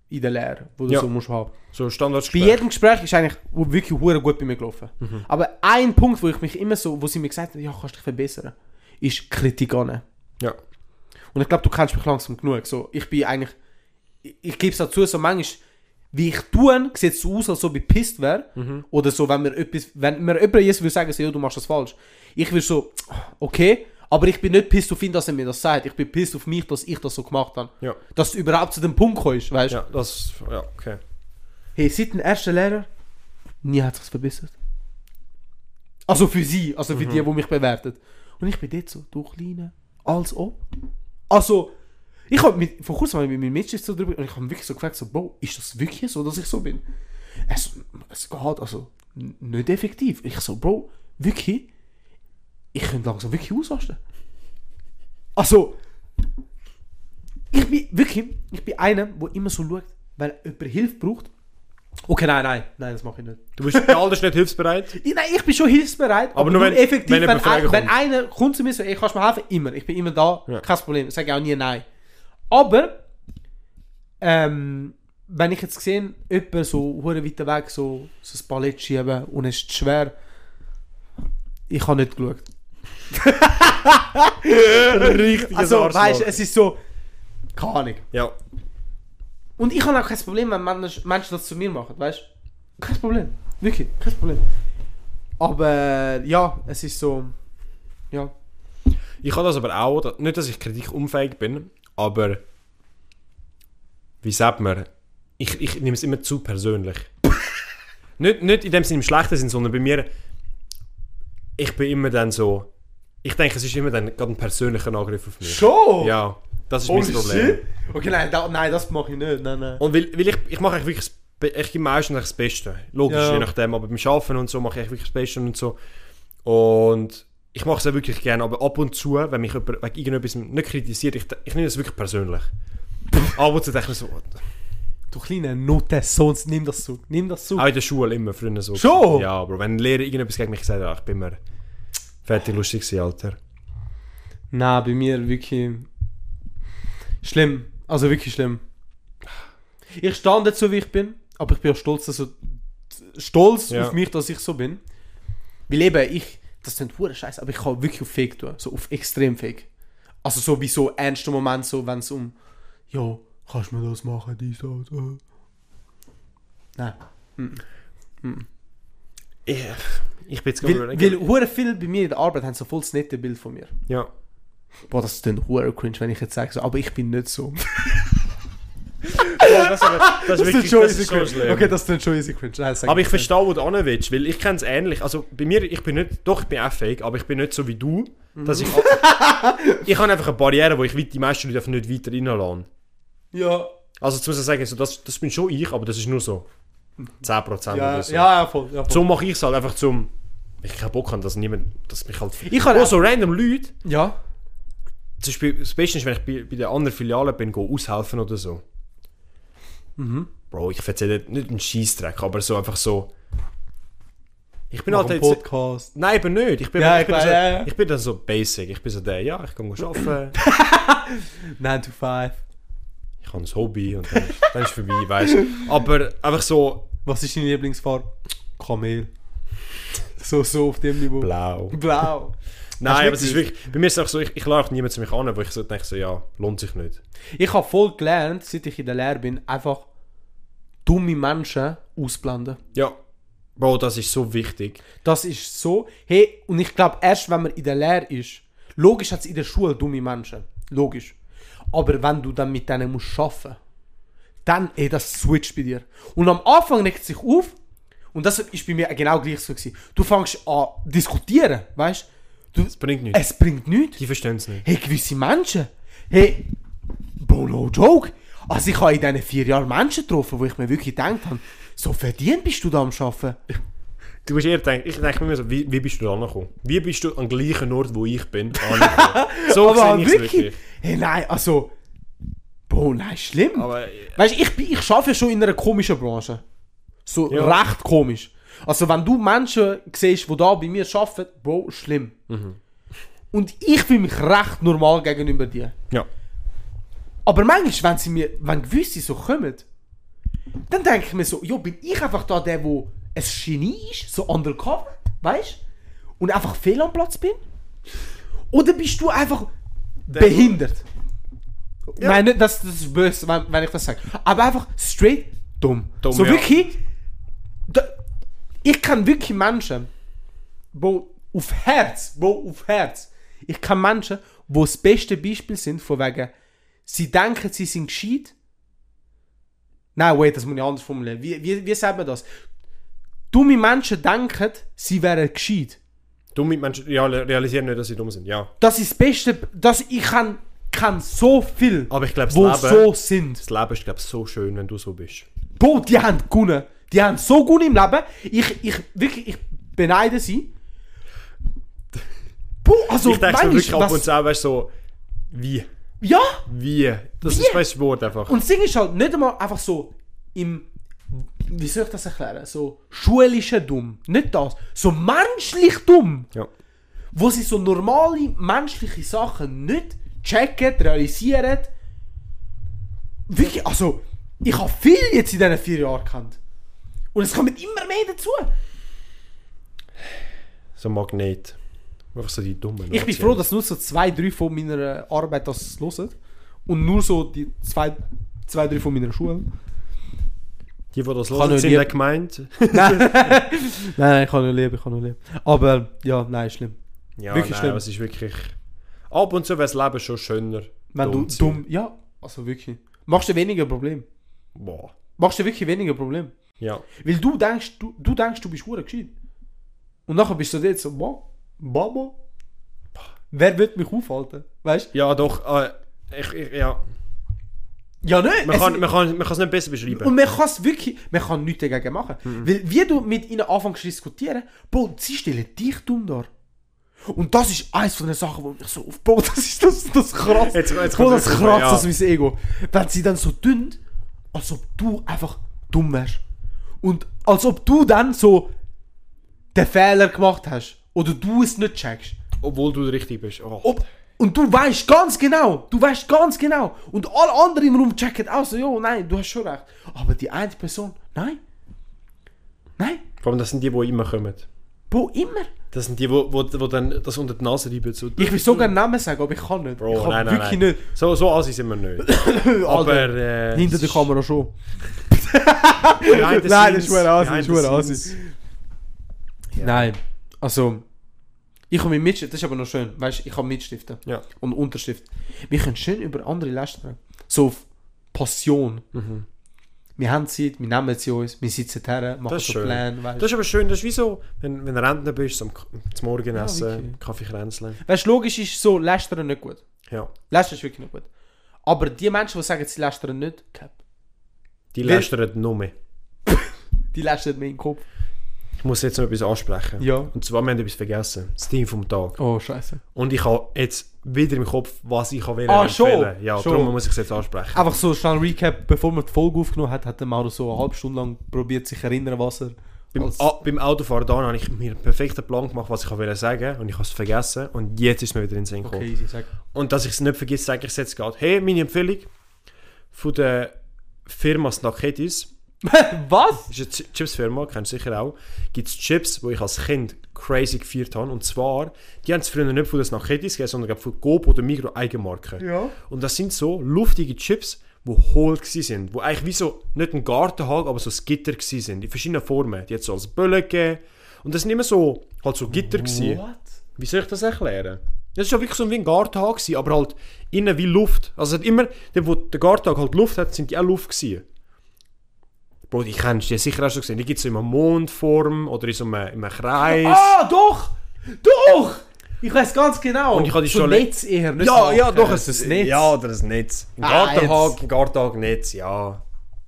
[SPEAKER 3] in der Lehre, wo du
[SPEAKER 4] Ja.
[SPEAKER 3] so musst haben.
[SPEAKER 4] So
[SPEAKER 3] Bei
[SPEAKER 4] Standardgespräch.
[SPEAKER 3] jedem Gespräch ist eigentlich wo- wirklich hure gut bei mir gelaufen. Aber ein Punkt, wo ich mich immer so, wo sie mir gesagt haben, ja, kannst dich verbessern, ist Kritik annehmen.
[SPEAKER 4] Ja.
[SPEAKER 3] Und ich glaube, du kennst mich langsam genug. So, ich bin eigentlich, ich, ich gebe es dazu, so manchmal, wie ich tue, sieht es so aus, als ob ich pisst wäre. Oder so, wenn mir etwas, wenn mir jemand jetzt würde sagen, so, ja, du machst das falsch. Ich würde so, okay, aber ich bin nicht pisst auf ihn, dass er mir das sagt. Ich bin pisst auf mich, dass ich das so gemacht habe.
[SPEAKER 4] Ja.
[SPEAKER 3] Dass du überhaupt zu dem Punkt kommst, weißt du?
[SPEAKER 4] Ja, das. Ja, okay.
[SPEAKER 3] Hey, seit dem ersten Lehrer, nie hat sich's verbessert. Also für sie, also für die, die mich bewertet. Und ich bin dort so, du Kleine, als ob. Also, ich habe mit, vor kurzem habe ich mit meinem Mitschüler so drüber und ich habe wirklich so gefragt, so, Bro, ist das wirklich so, dass ich so bin? Es, es geht halt, also, n- nicht effektiv. Ich so, Bro, wirklich? Ich könnte langsam wirklich ausrasten. Also, ich bin wirklich, ich bin einer, der immer so schaut, wenn jemand Hilfe braucht. Okay, nein, nein, nein, das mache ich nicht.
[SPEAKER 4] Du bist ja alles nicht hilfsbereit.
[SPEAKER 3] Ich- Nein, ich bin schon hilfsbereit, aber,
[SPEAKER 4] nur
[SPEAKER 3] nur
[SPEAKER 4] wenn-
[SPEAKER 3] effektiv,
[SPEAKER 4] wenn
[SPEAKER 3] wenn,
[SPEAKER 4] jemand Fragen
[SPEAKER 3] ein, wenn
[SPEAKER 4] kommt.
[SPEAKER 3] einer kommt zu mir und sagt, ey, kannst du mir helfen? Immer, ich bin immer da,
[SPEAKER 4] Ja.
[SPEAKER 3] kein Problem, ich sage auch nie nein. Aber, ähm, wenn ich jetzt sehe, jemand so hure weit weg so, so ein Ballett schieben und es ist schwer, ich habe nicht geschaut.
[SPEAKER 4] Richtiges
[SPEAKER 3] Also,
[SPEAKER 4] Arschloch.
[SPEAKER 3] weißt du, es ist so, keine Ahnung.
[SPEAKER 4] Ja.
[SPEAKER 3] Und ich habe auch kein Problem, wenn Menschen, Menschen das zu mir machen, weißt du? Kein Problem. Wirklich, kein Problem. Aber ja, es ist so. Ja.
[SPEAKER 4] Ich habe das aber auch, da- nicht, dass ich kritikunfähig bin, aber wie sagt man, ich, ich nehme es immer zu persönlich. nicht, nicht in dem Sinne im schlechten Sinn, sondern bei mir, ich bin immer dann so, ich denke, es ist immer dann gerade ein persönlicher Angriff auf mich.
[SPEAKER 3] Schon?
[SPEAKER 4] Ja, das ist
[SPEAKER 3] Oh,
[SPEAKER 4] mein Problem.
[SPEAKER 3] shit. Okay, nein, da, nein, das mache ich nicht. Nein, nein.
[SPEAKER 4] Und weil, weil ich, ich mache eigentlich wirklich das Be- ich gebe meistens eigentlich das Beste. Logisch,
[SPEAKER 3] Ja.
[SPEAKER 4] je nachdem, aber beim Arbeiten und so mache ich wirklich das Beste und so. Und ich mache es auch wirklich gerne, aber ab und zu, wenn mich jemand wegen irgendetwas nicht kritisiert, ich, ich nehme es wirklich persönlich. ab und zu denke ich mir so,
[SPEAKER 3] Du kleine Note, sonst nimm das zu. Nimm das zu.
[SPEAKER 4] auch in der Schule immer früher so.
[SPEAKER 3] Schon?
[SPEAKER 4] Ja, aber wenn ein Lehrer irgendetwas gegen mich gesagt hat, ah, ich bin mir fertig lustig gewesen, Alter.
[SPEAKER 3] Nein, bei mir wirklich. Schlimm. Also wirklich schlimm. Ich stand nicht so, wie ich bin, aber ich bin auch stolz, also, stolz
[SPEAKER 4] Ja.
[SPEAKER 3] auf mich, dass ich so bin. Weil eben, ich, das sind hure Scheiße, aber ich kann wirklich auf Fake tun. So auf extrem Fake. Also so wie so ernste Momente, so wenn es um, ja, kannst du mir das machen, dies, das, äh. Nein.
[SPEAKER 4] Ich, ich bin jetzt gerade
[SPEAKER 3] Weil, weil
[SPEAKER 4] überlegen.
[SPEAKER 3] hure viele bei mir in der Arbeit haben so voll das nette Bild von mir.
[SPEAKER 4] Ja.
[SPEAKER 3] Boah, das ist dann hure cringe, wenn ich jetzt sage, so, aber ich bin nicht so.
[SPEAKER 4] das, ist aber- das ist wirklich das ist so schlimm.
[SPEAKER 3] Okay, das ist schon easy cringe. Nein, sag
[SPEAKER 4] Aber ich
[SPEAKER 3] nicht.
[SPEAKER 4] verstehe, wo du hin willst, weil ich kenne es ähnlich. Also bei mir, ich bin nicht, doch, ich bin auch fähig, aber ich bin nicht so wie du, dass
[SPEAKER 3] Mhm.
[SPEAKER 4] ich... ich habe einfach eine Barriere, wo ich weit- die meisten Leute einfach nicht weiter reinlassen.
[SPEAKER 3] Ja,
[SPEAKER 4] Also jetzt muss ich sagen, so, das, das bin schon ich, aber das ist nur so 10%
[SPEAKER 3] ja,
[SPEAKER 4] oder so.
[SPEAKER 3] ja, ja, voll. Ja, voll.
[SPEAKER 4] So mache ich es halt einfach zum... Ich keinen Bock habe, dass niemand... Dass mich halt...
[SPEAKER 3] Ich kann
[SPEAKER 4] oh,
[SPEAKER 3] auch-
[SPEAKER 4] so random Leute...
[SPEAKER 3] ja.
[SPEAKER 4] Zum Beispiel, das Beste ist, wenn ich bei, bei der anderen Filiale bin, gehe aushelfen oder so.
[SPEAKER 3] Mhm.
[SPEAKER 4] Bro, ich erzähle nicht einen Scheißdreck, aber so einfach so... Ich bin
[SPEAKER 3] Mach
[SPEAKER 4] halt
[SPEAKER 3] einen
[SPEAKER 4] jetzt...
[SPEAKER 3] Podcast.
[SPEAKER 4] Nein, eben nicht. Ich bin,
[SPEAKER 3] Ja,
[SPEAKER 4] ich, bin
[SPEAKER 3] klar,
[SPEAKER 4] so,
[SPEAKER 3] ja, ja.
[SPEAKER 4] ich bin dann so basic. Ich bin so der, ja, ich kann go arbeiten,
[SPEAKER 3] 9 to 5.
[SPEAKER 4] ich habe ein Hobby und dann, ist- dann ist es vorbei, weißt du. Aber einfach so
[SPEAKER 3] Was ist deine Lieblingsfarbe? Kamel. So, so auf dem Niveau.
[SPEAKER 4] blau.
[SPEAKER 3] Blau.
[SPEAKER 4] Nein,
[SPEAKER 3] du
[SPEAKER 4] aber es ist
[SPEAKER 3] wirklich-
[SPEAKER 4] wirklich, bei mir ist es auch so, ich, ich laufe niemanden zu mich an, wo ich so denke, so, ja, lohnt sich nicht.
[SPEAKER 3] Ich habe voll gelernt, seit ich in der Lehre bin, einfach dumme Menschen ausblenden.
[SPEAKER 4] Ja, Bro, das ist so wichtig.
[SPEAKER 3] Das ist so. Hey, und ich glaube, erst wenn man in der Lehre ist, logisch hat es in der Schule dumme Menschen. Logisch. Aber wenn du dann mit denen musst arbeiten dann, ey, das switcht bei dir. Und am Anfang regt es sich auf, und das ist bei mir genau gleich so gewesen. Du fängst an diskutieren, weißt du?
[SPEAKER 4] Es bringt nichts.
[SPEAKER 3] Es bringt nichts.
[SPEAKER 4] Die verstehen es nicht.
[SPEAKER 3] Hey, gewisse Menschen, Hey, Bro, no joke. Also ich habe in diesen vier Jahren Menschen getroffen, wo ich mir wirklich gedacht habe, so verdient bist du da am Arbeiten.
[SPEAKER 4] Du musst eher denken, ich denke mir so, wie, wie bist du da angekommen? Wie bist du an dem gleichen Ort, wo ich bin, angekommen? so sehe ich es wirklich.
[SPEAKER 3] Hey, nein, also... Bro, nein, schlimm.
[SPEAKER 4] Aber äh,
[SPEAKER 3] Weißt du, ich, bin- ich arbeite ja schon in einer komischen Branche. So
[SPEAKER 4] Ja.
[SPEAKER 3] recht komisch. Also, wenn du Menschen siehst, die da bei mir arbeiten, Bro, schlimm.
[SPEAKER 4] Mhm.
[SPEAKER 3] Und ich fühle mich recht normal gegenüber dir.
[SPEAKER 4] ja.
[SPEAKER 3] Aber manchmal, wenn sie mir, wenn gewisse so kommen, dann denke ich mir so, jo, bin ich einfach da der, wo ein Genie ist, so undercover, weißt Und einfach fehl am Platz bin? Oder bist du einfach behindert? Nein, nicht, das, das ist böse, wenn, wenn ich das sage. Aber einfach straight dumm.
[SPEAKER 4] Dumm,
[SPEAKER 3] so
[SPEAKER 4] ja.
[SPEAKER 3] wirklich. Da, ich kann wirklich Menschen, Bro, auf Herz, Bro, auf Herz. Ich kann Menschen, wo das beste Beispiel sind, von wegen, sie denken, sie sind gescheit. Nein, wait, das muss ich anders formulieren. Wie, wie, wie sagt man das? Dumme Menschen denken, sie wären gescheit.
[SPEAKER 4] Dumme Menschen ja, realisieren nicht, dass sie dumm sind, ja.
[SPEAKER 3] Das ist das Beste, dass ich kann, kann so viel,
[SPEAKER 4] Aber ich glaube, das
[SPEAKER 3] wo
[SPEAKER 4] Leben,
[SPEAKER 3] so sind.
[SPEAKER 4] das Leben ist, glaube ich, so schön, wenn du so bist.
[SPEAKER 3] Bro, die haben gewonnen. Die haben so gut im Leben. Ich, ich, wirklich, ich beneide sie. Bro, also,
[SPEAKER 4] ich denke
[SPEAKER 3] manchmal,
[SPEAKER 4] mir wirklich ab und
[SPEAKER 3] was-
[SPEAKER 4] zu auch, weißt du, so, wie,
[SPEAKER 3] Ja,
[SPEAKER 4] wie. Das
[SPEAKER 3] Wie?
[SPEAKER 4] ist weißt, du, das Wort einfach.
[SPEAKER 3] und das Ding ist halt nicht einmal einfach so im, wie soll ich das erklären, so schulischen Dumm. Nicht das, so menschlich dumm.
[SPEAKER 4] ja.
[SPEAKER 3] wo sie so normale menschliche Sachen nicht checken, realisieren. Wirklich, also, ich habe viel jetzt in diesen vier Jahren gekannt. Und es kommt immer mehr dazu.
[SPEAKER 4] So ein Magnet. Einfach so die dummen.
[SPEAKER 3] Ich bin
[SPEAKER 4] Nazis.
[SPEAKER 3] froh, dass nur so zwei, drei von meiner Arbeit das hören. Und nur so die zwei, zwei drei von meiner Schule.
[SPEAKER 4] Die, die das
[SPEAKER 3] nur
[SPEAKER 4] hören, sind
[SPEAKER 3] die-
[SPEAKER 4] nicht gemeint.
[SPEAKER 3] Nein, nein, ich kann nur lieben, ich kann nur lieben. Aber ja, nein, ist schlimm.
[SPEAKER 4] ja,
[SPEAKER 3] Wirklich
[SPEAKER 4] nein,
[SPEAKER 3] schlimm.
[SPEAKER 4] es ist wirklich... Ab und zu wäre das Leben schon schöner.
[SPEAKER 3] Wenn du
[SPEAKER 4] zu sein.
[SPEAKER 3] dumm, ja, also wirklich. Machst du weniger Problem.
[SPEAKER 4] Boah.
[SPEAKER 3] Machst du wirklich weniger Problem.
[SPEAKER 4] Ja.
[SPEAKER 3] Weil du denkst, du, du denkst, du bist hure gescheit. Und nachher bist du dort so, boah, Baba, wer wird mich aufhalten? Weißt du?
[SPEAKER 4] Ja, doch. Äh, ich, ich, ja.
[SPEAKER 3] Ja, nicht.
[SPEAKER 4] Man
[SPEAKER 3] es-
[SPEAKER 4] kann es man kann, man kann's nicht besser beschreiben.
[SPEAKER 3] und man kann es wirklich, man kann nichts dagegen machen.
[SPEAKER 4] Mhm.
[SPEAKER 3] Weil wie du mit ihnen anfängst zu diskutieren, Bro, sie stellen dich dumm dar. Und das ist eins von den Sachen, die mich so auf, Bro, das ist das, das krass.
[SPEAKER 4] Jetzt- jetzt
[SPEAKER 3] Bro,
[SPEAKER 4] kommt
[SPEAKER 3] das
[SPEAKER 4] es wirklich,
[SPEAKER 3] kratzt
[SPEAKER 4] ja.
[SPEAKER 3] das mein Ego. Wenn sie dann so dünn, als ob du einfach dumm wärst. Und als ob du dann so den Fehler gemacht hast. Oder du es nicht checkst.
[SPEAKER 4] Obwohl du richtig bist. Oh.
[SPEAKER 3] Ob, und du weißt ganz genau, du weißt ganz genau. Und alle anderen im Raum checken auch so, jo, nein, du hast schon recht. Aber die eine Person, nein. Nein,
[SPEAKER 4] Vor allem, das sind die, die immer kommen.
[SPEAKER 3] Bro, immer.
[SPEAKER 4] Das sind die, die wo, wo, wo dann das unter die Nase reiben. So,
[SPEAKER 3] Ich will sogar Namen sagen, aber ich kann nicht.
[SPEAKER 4] Bro,
[SPEAKER 3] ich kann
[SPEAKER 4] nein, nein,
[SPEAKER 3] wirklich
[SPEAKER 4] nein.
[SPEAKER 3] nicht.
[SPEAKER 4] So, so assi sind wir nicht. Aber...
[SPEAKER 3] Alter,
[SPEAKER 4] Äh,
[SPEAKER 3] hinter
[SPEAKER 4] es
[SPEAKER 3] der
[SPEAKER 4] ist-
[SPEAKER 3] Kamera schon.
[SPEAKER 4] Behind the
[SPEAKER 3] Nein, das ist
[SPEAKER 4] scenes,
[SPEAKER 3] hure assi, das
[SPEAKER 4] behind
[SPEAKER 3] ist
[SPEAKER 4] the
[SPEAKER 3] hure
[SPEAKER 4] scenes.
[SPEAKER 3] Nein, also ich habe mit Mitstift, das ist aber noch schön, weißt ich habe Mitstiften
[SPEAKER 4] Ja.
[SPEAKER 3] und Unterschrift. Wir können schön über andere lästern. So auf Passion.
[SPEAKER 4] Mhm.
[SPEAKER 3] Wir haben Zeit, wir nehmen sie uns, wir sitzen her, machen
[SPEAKER 4] Das ist
[SPEAKER 3] so
[SPEAKER 4] schön.
[SPEAKER 3] Pläne, weißt
[SPEAKER 4] Das ist aber schön, das ist wie so, wenn, wenn du Rentner bist, am K- zum
[SPEAKER 3] Ja,
[SPEAKER 4] Morgenessen,
[SPEAKER 3] wirklich.
[SPEAKER 4] Kaffee kränzeln.
[SPEAKER 3] Weißt logisch ist so, lästern nicht gut.
[SPEAKER 4] Ja,
[SPEAKER 3] Lästern ist wirklich nicht gut. Aber die Menschen, die sagen, sie lästern nicht, cap.
[SPEAKER 4] die
[SPEAKER 3] Wer-
[SPEAKER 4] lästern nur mehr.
[SPEAKER 3] die lästern mir in den Kopf.
[SPEAKER 4] Ich muss jetzt noch etwas ansprechen.
[SPEAKER 3] Ja.
[SPEAKER 4] Und zwar, wir haben etwas vergessen. Das Team vom Tag.
[SPEAKER 3] Oh, scheiße.
[SPEAKER 4] Und ich habe jetzt wieder im Kopf, was ich habe
[SPEAKER 3] Ah,
[SPEAKER 4] empfehlen.
[SPEAKER 3] schon?
[SPEAKER 4] Ja,
[SPEAKER 3] Schon.
[SPEAKER 4] darum muss ich es jetzt ansprechen.
[SPEAKER 3] Einfach so schnell Recap, bevor man die Folge aufgenommen hat, hat der Mauro so eine halbe Stunde lang probiert, sich erinnern, was er.
[SPEAKER 4] Beim,
[SPEAKER 3] als-
[SPEAKER 4] ah, beim Autofahren da habe ich mir einen perfekten Plan gemacht, was ich wollte sagen und ich habe es vergessen und jetzt ist mir wieder in den Sinn gekommen.
[SPEAKER 3] Okay, easy, sag.
[SPEAKER 4] Und dass ich es nicht vergesse, sage ich es jetzt gerade. Hey, meine Empfehlung von der Firma Snacketis.
[SPEAKER 3] was?
[SPEAKER 4] Das ist eine Ch- Chips-Firma, kennst du sicher auch. Gibt es Chips, die ich als Kind crazy gefeiert habe. Und zwar, die haben es früher nicht von den Snacketis gegeben, sondern glaub, von Coop oder Migros Eigenmarken.
[SPEAKER 3] Ja.
[SPEAKER 4] Und das sind so luftige Chips, die hohl gsi sind. Die eigentlich wie so, nicht ein Gartenhag, aber so ein Gitter gsi sind. In verschiedenen Formen. Die hat es so als Böllen gegeben. Und das sind immer so, halt so Gitter gsi.
[SPEAKER 3] What?
[SPEAKER 4] Wie soll ich das erklären? Das ist ja wirklich so wie ein Gartenhag gsi, aber halt innen wie Luft. Also es hat immer, dort wo der Gartenhag halt Luft hat, sind die auch Luft gsi. Bro, die kennst du die hast du sicher auch schon gesehen. Die Ah! gibt es so in einer Mondform oder in so einem, in einem Kreis.
[SPEAKER 3] Ah, doch! Doch! Ich weiß ganz genau.
[SPEAKER 4] Und ich habe die
[SPEAKER 3] So
[SPEAKER 4] schon le-
[SPEAKER 3] Netz eher, nicht
[SPEAKER 4] ja,
[SPEAKER 3] so
[SPEAKER 4] ja,
[SPEAKER 3] Haken.
[SPEAKER 4] doch,
[SPEAKER 3] Das
[SPEAKER 4] es
[SPEAKER 3] ist
[SPEAKER 4] ist
[SPEAKER 3] ein Netz.
[SPEAKER 4] Ja, oder ein Netz. Ein
[SPEAKER 3] Ah,
[SPEAKER 4] Gartenhaken, Gartenhaken-Netz, ja.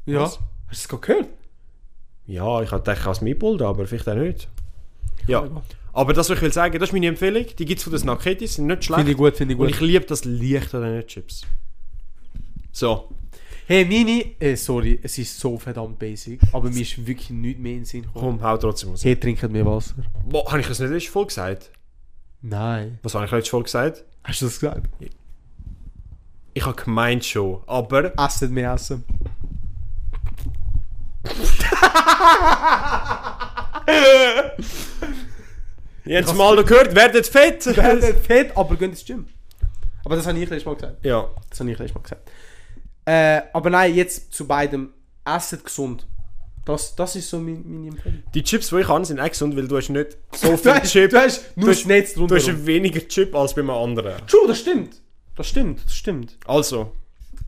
[SPEAKER 3] ja.
[SPEAKER 4] Was?
[SPEAKER 3] Hast du es gerade gehört?
[SPEAKER 4] Ja, ich hätte gedacht, ich kann es mitbilden, aber vielleicht auch nicht. Ja. Aber das, was ich will sagen, das ist meine Empfehlung. Die gibt es von den Snacketis, sind nicht schlecht.
[SPEAKER 3] Finde ich gut, finde ich
[SPEAKER 4] Und
[SPEAKER 3] gut.
[SPEAKER 4] ich liebe das Licht an den Chips. So.
[SPEAKER 3] Hey, meine, äh, sorry, es ist so verdammt basic, aber mir ist wirklich nichts mehr in den Sinn gekommen.
[SPEAKER 4] Komm, hau trotzdem raus.
[SPEAKER 3] Hier trinken wir Wasser.
[SPEAKER 4] Boah, habe ich das nicht letztes voll gesagt?
[SPEAKER 3] Nein.
[SPEAKER 4] Was habe ich letztes voll gesagt?
[SPEAKER 3] Hast du das gesagt?
[SPEAKER 4] Ich habe gemeint schon, aber...
[SPEAKER 3] Essen mehr essen.
[SPEAKER 4] Jetzt mal noch gehört, werdet fett!
[SPEAKER 3] Werdet fett, aber geht ins Gym. Aber das habe ich letztes Mal gesagt.
[SPEAKER 4] ja.
[SPEAKER 3] Das habe ich letztes Mal gesagt. Äh, aber nein, jetzt zu beidem. Esset gesund. Das, das ist so mein, meine Empfehlung.
[SPEAKER 4] Die Chips, die ich habe, sind auch gesund, weil du hast nicht so
[SPEAKER 3] Du
[SPEAKER 4] viel
[SPEAKER 3] hast,
[SPEAKER 4] Chip.
[SPEAKER 3] du hast nur
[SPEAKER 4] du
[SPEAKER 3] das Netz
[SPEAKER 4] du
[SPEAKER 3] drunter. rum.
[SPEAKER 4] hast weniger Chip als bei einem anderen.
[SPEAKER 3] True, das stimmt. Das stimmt, das stimmt.
[SPEAKER 4] Also,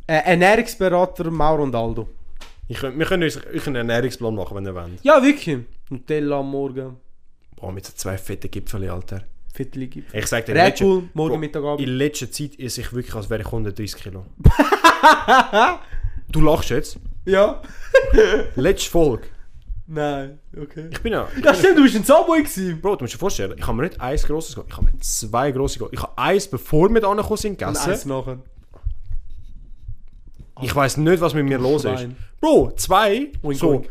[SPEAKER 3] Äh, Ernährungsberater Mauro und Aldo.
[SPEAKER 4] ich, könnt- wir können uns euch einen Ernährungsplan machen, wenn ihr wollt.
[SPEAKER 3] Ja, wirklich. Nutella am Morgen.
[SPEAKER 4] Boah, mit so zwei fetten Gipfeln, Alter.
[SPEAKER 3] Viertel gibt.
[SPEAKER 4] Ich sag dir, in
[SPEAKER 3] Red
[SPEAKER 4] letzter,
[SPEAKER 3] Bull, morgen
[SPEAKER 4] Bro,
[SPEAKER 3] Mittag Abend.
[SPEAKER 4] in letzter Zeit ist ich wirklich, als wäre ich 130 Kilo. du lachst jetzt.
[SPEAKER 3] Ja?
[SPEAKER 4] Letzte Folge.
[SPEAKER 3] Nein, okay.
[SPEAKER 4] Ich bin ja...
[SPEAKER 3] Ja, stimmt, du bist ein Subway gewesen.
[SPEAKER 4] Bro, du musst dir vorstellen, ich habe mir nicht eins grosses geholt, ich habe mir zwei grosse geholt. Ich habe eins, bevor wir da angekommen sind,
[SPEAKER 3] Und
[SPEAKER 4] gegessen.
[SPEAKER 3] eins nachher.
[SPEAKER 4] Ich weiß nicht, was mit mir los ist.
[SPEAKER 3] Schwein.
[SPEAKER 4] Bro, zwei.
[SPEAKER 3] Oink,
[SPEAKER 4] so.
[SPEAKER 3] oink.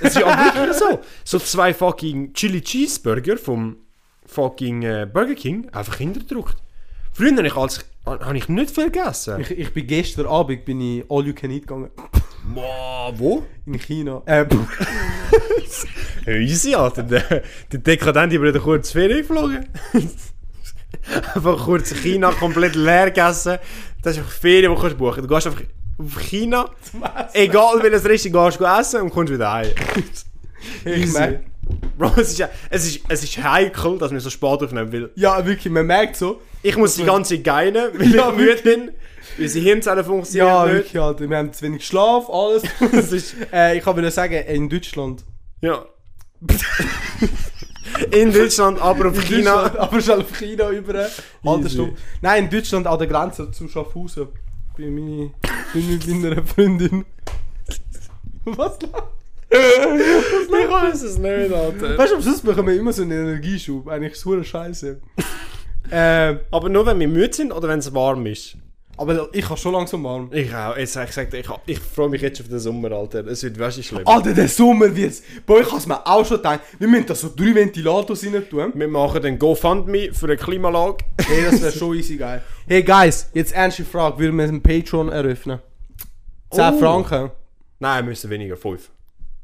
[SPEAKER 4] Es ist ja wirklich so. So zwei fucking Chili Cheeseburger vom fucking äh, Burger King einfach hingedruckt. Früher habe ich, als, habe ich nicht viel gegessen.
[SPEAKER 3] Ich, ich bin gestern Abend bin ich All You Can Eat gegangen.
[SPEAKER 4] Boah, wo?
[SPEAKER 3] In China. Äh, pff.
[SPEAKER 4] Easy, Alter. Der, der Dekadente über den kurz Ferien geflogen. einfach kurz China komplett leer gegessen. Das ist einfach Ferien, die du buchen kannst. Du gehst einfach auf China, egal welches Restaurant, gehst du essen und kommst wieder heim.
[SPEAKER 3] ich merk,
[SPEAKER 4] Bro, es ist, ja- es, ist, es ist heikel, dass wir so spät aufnehmen, weil
[SPEAKER 3] ja, wirklich, man merkt so.
[SPEAKER 4] ich muss die ganze Zeit geilen, weil
[SPEAKER 3] Ja,
[SPEAKER 4] ich müde bin, unsere Hirnzellen funktionieren
[SPEAKER 3] Ja,
[SPEAKER 4] nicht.
[SPEAKER 3] wirklich, Alter. Wir haben zu wenig Schlaf, alles.
[SPEAKER 4] Das ist,
[SPEAKER 3] äh, ich kann nur sagen, in Deutschland.
[SPEAKER 4] Dus, ja. In Deutschland, aber auf
[SPEAKER 3] In
[SPEAKER 4] China.
[SPEAKER 3] Deutschland, aber schon auf China über. Andersrum.
[SPEAKER 4] Easy.
[SPEAKER 3] Nein, in Deutschland an der Grenze zu Schaffhausen. Bei meiner, bei meiner Freundin. Was lacht?
[SPEAKER 4] Ich weiß es nicht, Alter.
[SPEAKER 3] Weißt du, am Schluss bekommen wir immer so einen Energieschub. Eigentlich ist es scheiße. ähm,
[SPEAKER 4] Aber nur wenn wir müde sind oder wenn es warm ist.
[SPEAKER 3] aber ich habe schon langsam warm.
[SPEAKER 4] Ich auch. Jetzt, ich sag dir, ich, ich freue mich jetzt auf den Sommer, Alter. Es wird weißt du, schlimm.
[SPEAKER 3] Alter, Ah, der Sommer wird's. Boah, ich hab's mir auch schon gedacht. Wir müssen da so drei Ventilators rein tun.
[SPEAKER 4] Wir machen den GoFundMe für eine Klimalage.
[SPEAKER 3] Hey, das wäre schon easy geil. Hey guys, jetzt ernste Frage. Würden wir einen Patreon eröffnen? 10
[SPEAKER 4] Oh.
[SPEAKER 3] Franken?
[SPEAKER 4] Nein, wir müssen weniger, 5.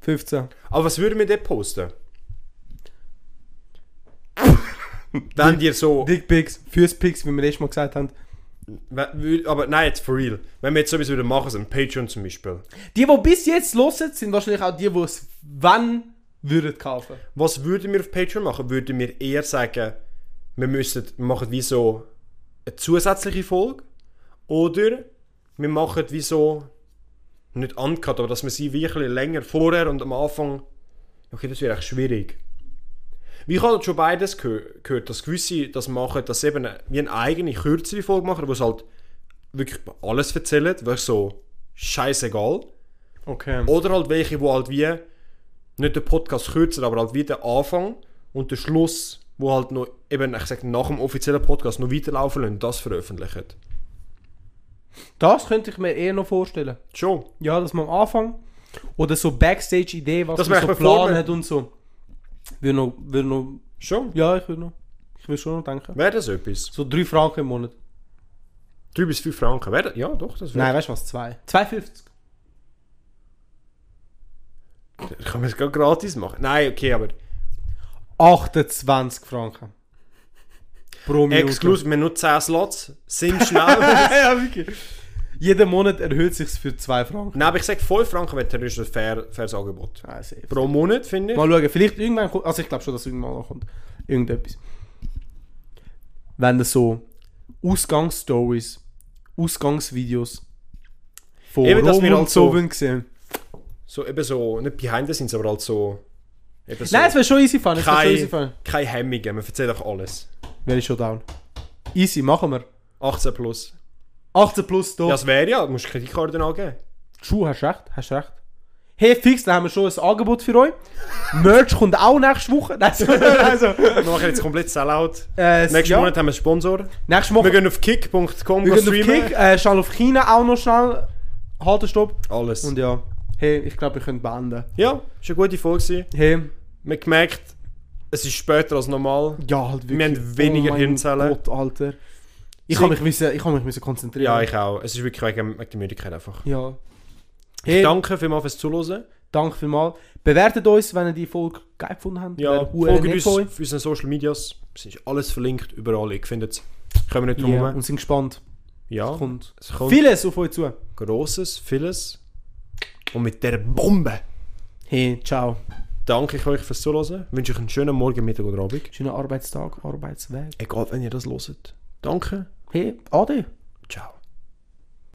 [SPEAKER 3] 15.
[SPEAKER 4] Aber was würden wir dort posten? Wenn dir so.
[SPEAKER 3] Dickpics, Füßpics, wie wir letztes Mal gesagt haben.
[SPEAKER 4] wenn- wür- Aber nein, jetzt for real. Wenn wir jetzt sowieso wieder machen, so ein Patreon zum Beispiel.
[SPEAKER 3] Die, die bis jetzt hören, sind wahrscheinlich auch die, die es wann würden kaufen.
[SPEAKER 4] Was würden wir auf Patreon machen? Würden wir eher sagen, wir müssen, wir machen wie so eine zusätzliche Folge? Oder wir machen wie so. Nicht uncut, aber dass wir sie wirklich länger vorher und am Anfang. Okay, das wäre echt schwierig. Wie ich habe schon beides gehö- gehört, dass gewisse das machen, dass sie eben wie eine eigene, kürzere Folge machen, wo sie halt wirklich alles erzählen, wirklich so scheißegal.
[SPEAKER 3] Okay.
[SPEAKER 4] Oder halt welche, wo halt wie nicht den Podcast kürzen, aber halt wie den Anfang und den Schluss, wo halt noch eben, ich sag, nach dem offiziellen Podcast noch weiterlaufen lassen, das veröffentlichen.
[SPEAKER 3] Das könnte ich mir eher noch vorstellen.
[SPEAKER 4] Schon.
[SPEAKER 3] Ja, dass man am Anfang oder so Backstage-Idee, was
[SPEAKER 4] Dass
[SPEAKER 3] man
[SPEAKER 4] man
[SPEAKER 3] so
[SPEAKER 4] echt bevor
[SPEAKER 3] geplant
[SPEAKER 4] man-
[SPEAKER 3] hat und so. Würde noch, würde noch,
[SPEAKER 4] Schon.
[SPEAKER 3] ja, ich würde noch, ich würde schon noch denken.
[SPEAKER 4] Wäre das etwas?
[SPEAKER 3] So 3 Franken im Monat.
[SPEAKER 4] 3 bis 5 Franken. Wäre das? Ja, doch, das
[SPEAKER 3] Nein,
[SPEAKER 4] wäre.
[SPEAKER 3] weißt du was? 2. 2,50.
[SPEAKER 4] Kann man es gerade gratis machen? Nein, okay, aber
[SPEAKER 3] 28 Franken. Pro Minute.
[SPEAKER 4] exklusiv, wir haben nur 10 Slots, sind schnell.
[SPEAKER 3] ja, wirklich. Jeden Monat erhöht sich's für 2 Franken.
[SPEAKER 4] Nein, aber ich sage 5 Franken wäre theoretisch ein fair, faires Angebot.
[SPEAKER 3] Ah, safe.
[SPEAKER 4] Pro Monat, finde ich.
[SPEAKER 3] Mal schauen, vielleicht irgendwann kommt. Also ich glaube schon, dass irgendwann noch kommt. Irgendetwas. Wenn das so Ausgangsstories, Ausgangsvideos von
[SPEAKER 4] Eben, dass
[SPEAKER 3] Rom
[SPEAKER 4] wir
[SPEAKER 3] und
[SPEAKER 4] halt
[SPEAKER 3] so
[SPEAKER 4] so-
[SPEAKER 3] wollen sehen.
[SPEAKER 4] So, eben so, nicht behind the scenes, aber halt so. Eben so.
[SPEAKER 3] Nein, es wäre schon easy fun. Es wäre schon easy
[SPEAKER 4] keine,
[SPEAKER 3] fun.
[SPEAKER 4] keine Hemmungen, man erzählt auch alles.
[SPEAKER 3] wäre ich schon down. Easy, machen wir.
[SPEAKER 4] 18 plus.
[SPEAKER 3] 18 plus hier.
[SPEAKER 4] Ja, das wäre ja, du musst Kreditkarte angeben.
[SPEAKER 3] True, hast recht, hast recht. Hey, fix, dann haben wir schon ein Angebot für euch. Merch kommt auch nächste Woche. Nein, so- nein, so.
[SPEAKER 4] Wir machen jetzt komplett Sellout.
[SPEAKER 3] Äh,
[SPEAKER 4] Nächsten
[SPEAKER 3] ja.
[SPEAKER 4] Monat haben wir einen Sponsor.
[SPEAKER 3] Nächste
[SPEAKER 4] Wir
[SPEAKER 3] Woche.
[SPEAKER 4] gehen auf kick.com
[SPEAKER 3] Wir gehen auf
[SPEAKER 4] streamen.
[SPEAKER 3] Kick, äh, schnell auf China auch noch schnell. Halten, stopp.
[SPEAKER 4] Alles.
[SPEAKER 3] Und ja, hey, ich glaube, wir können beenden.
[SPEAKER 4] ja, ist eine gute Folge. gewesen.
[SPEAKER 3] Hey,
[SPEAKER 4] Wir haben gemerkt, es ist später als normal.
[SPEAKER 3] ja, halt wirklich.
[SPEAKER 4] Wir haben weniger
[SPEAKER 3] mein
[SPEAKER 4] Hirnzellen.
[SPEAKER 3] Gott, Alter. Ich
[SPEAKER 4] Sie-
[SPEAKER 3] habe mich, müssen- ich hab mich müssen konzentrieren.
[SPEAKER 4] Ja, ich auch. Es ist wirklich wegen, wegen der Müdigkeit einfach.
[SPEAKER 3] Ja. Hey, danke.
[SPEAKER 4] Danke vielmals fürs Zuhören.
[SPEAKER 3] danke vielmals. Bewertet uns, wenn ihr die Folge geil gefunden habt.
[SPEAKER 4] Ja,
[SPEAKER 3] Wäre huere
[SPEAKER 4] folgt
[SPEAKER 3] nett
[SPEAKER 4] uns
[SPEAKER 3] von euch.
[SPEAKER 4] auf unseren Social Medias. Es ist alles verlinkt, überall. Ihr findet es. Können wir nicht
[SPEAKER 3] Ja,
[SPEAKER 4] drum.
[SPEAKER 3] und sind gespannt.
[SPEAKER 4] Ja,
[SPEAKER 3] Kommt
[SPEAKER 4] es kommt
[SPEAKER 3] vieles auf euch zu.
[SPEAKER 4] Grosses, vieles. Und mit der Bombe
[SPEAKER 3] Hey, ciao.
[SPEAKER 4] danke ich euch fürs Zuhören. Wünsche euch einen schönen Morgen, Mittag oder Abend.
[SPEAKER 3] Schönen Arbeitstag, Arbeitsweg.
[SPEAKER 4] Egal, wenn ihr das hört. Danke.
[SPEAKER 3] Hey, Ade.
[SPEAKER 4] Ciao.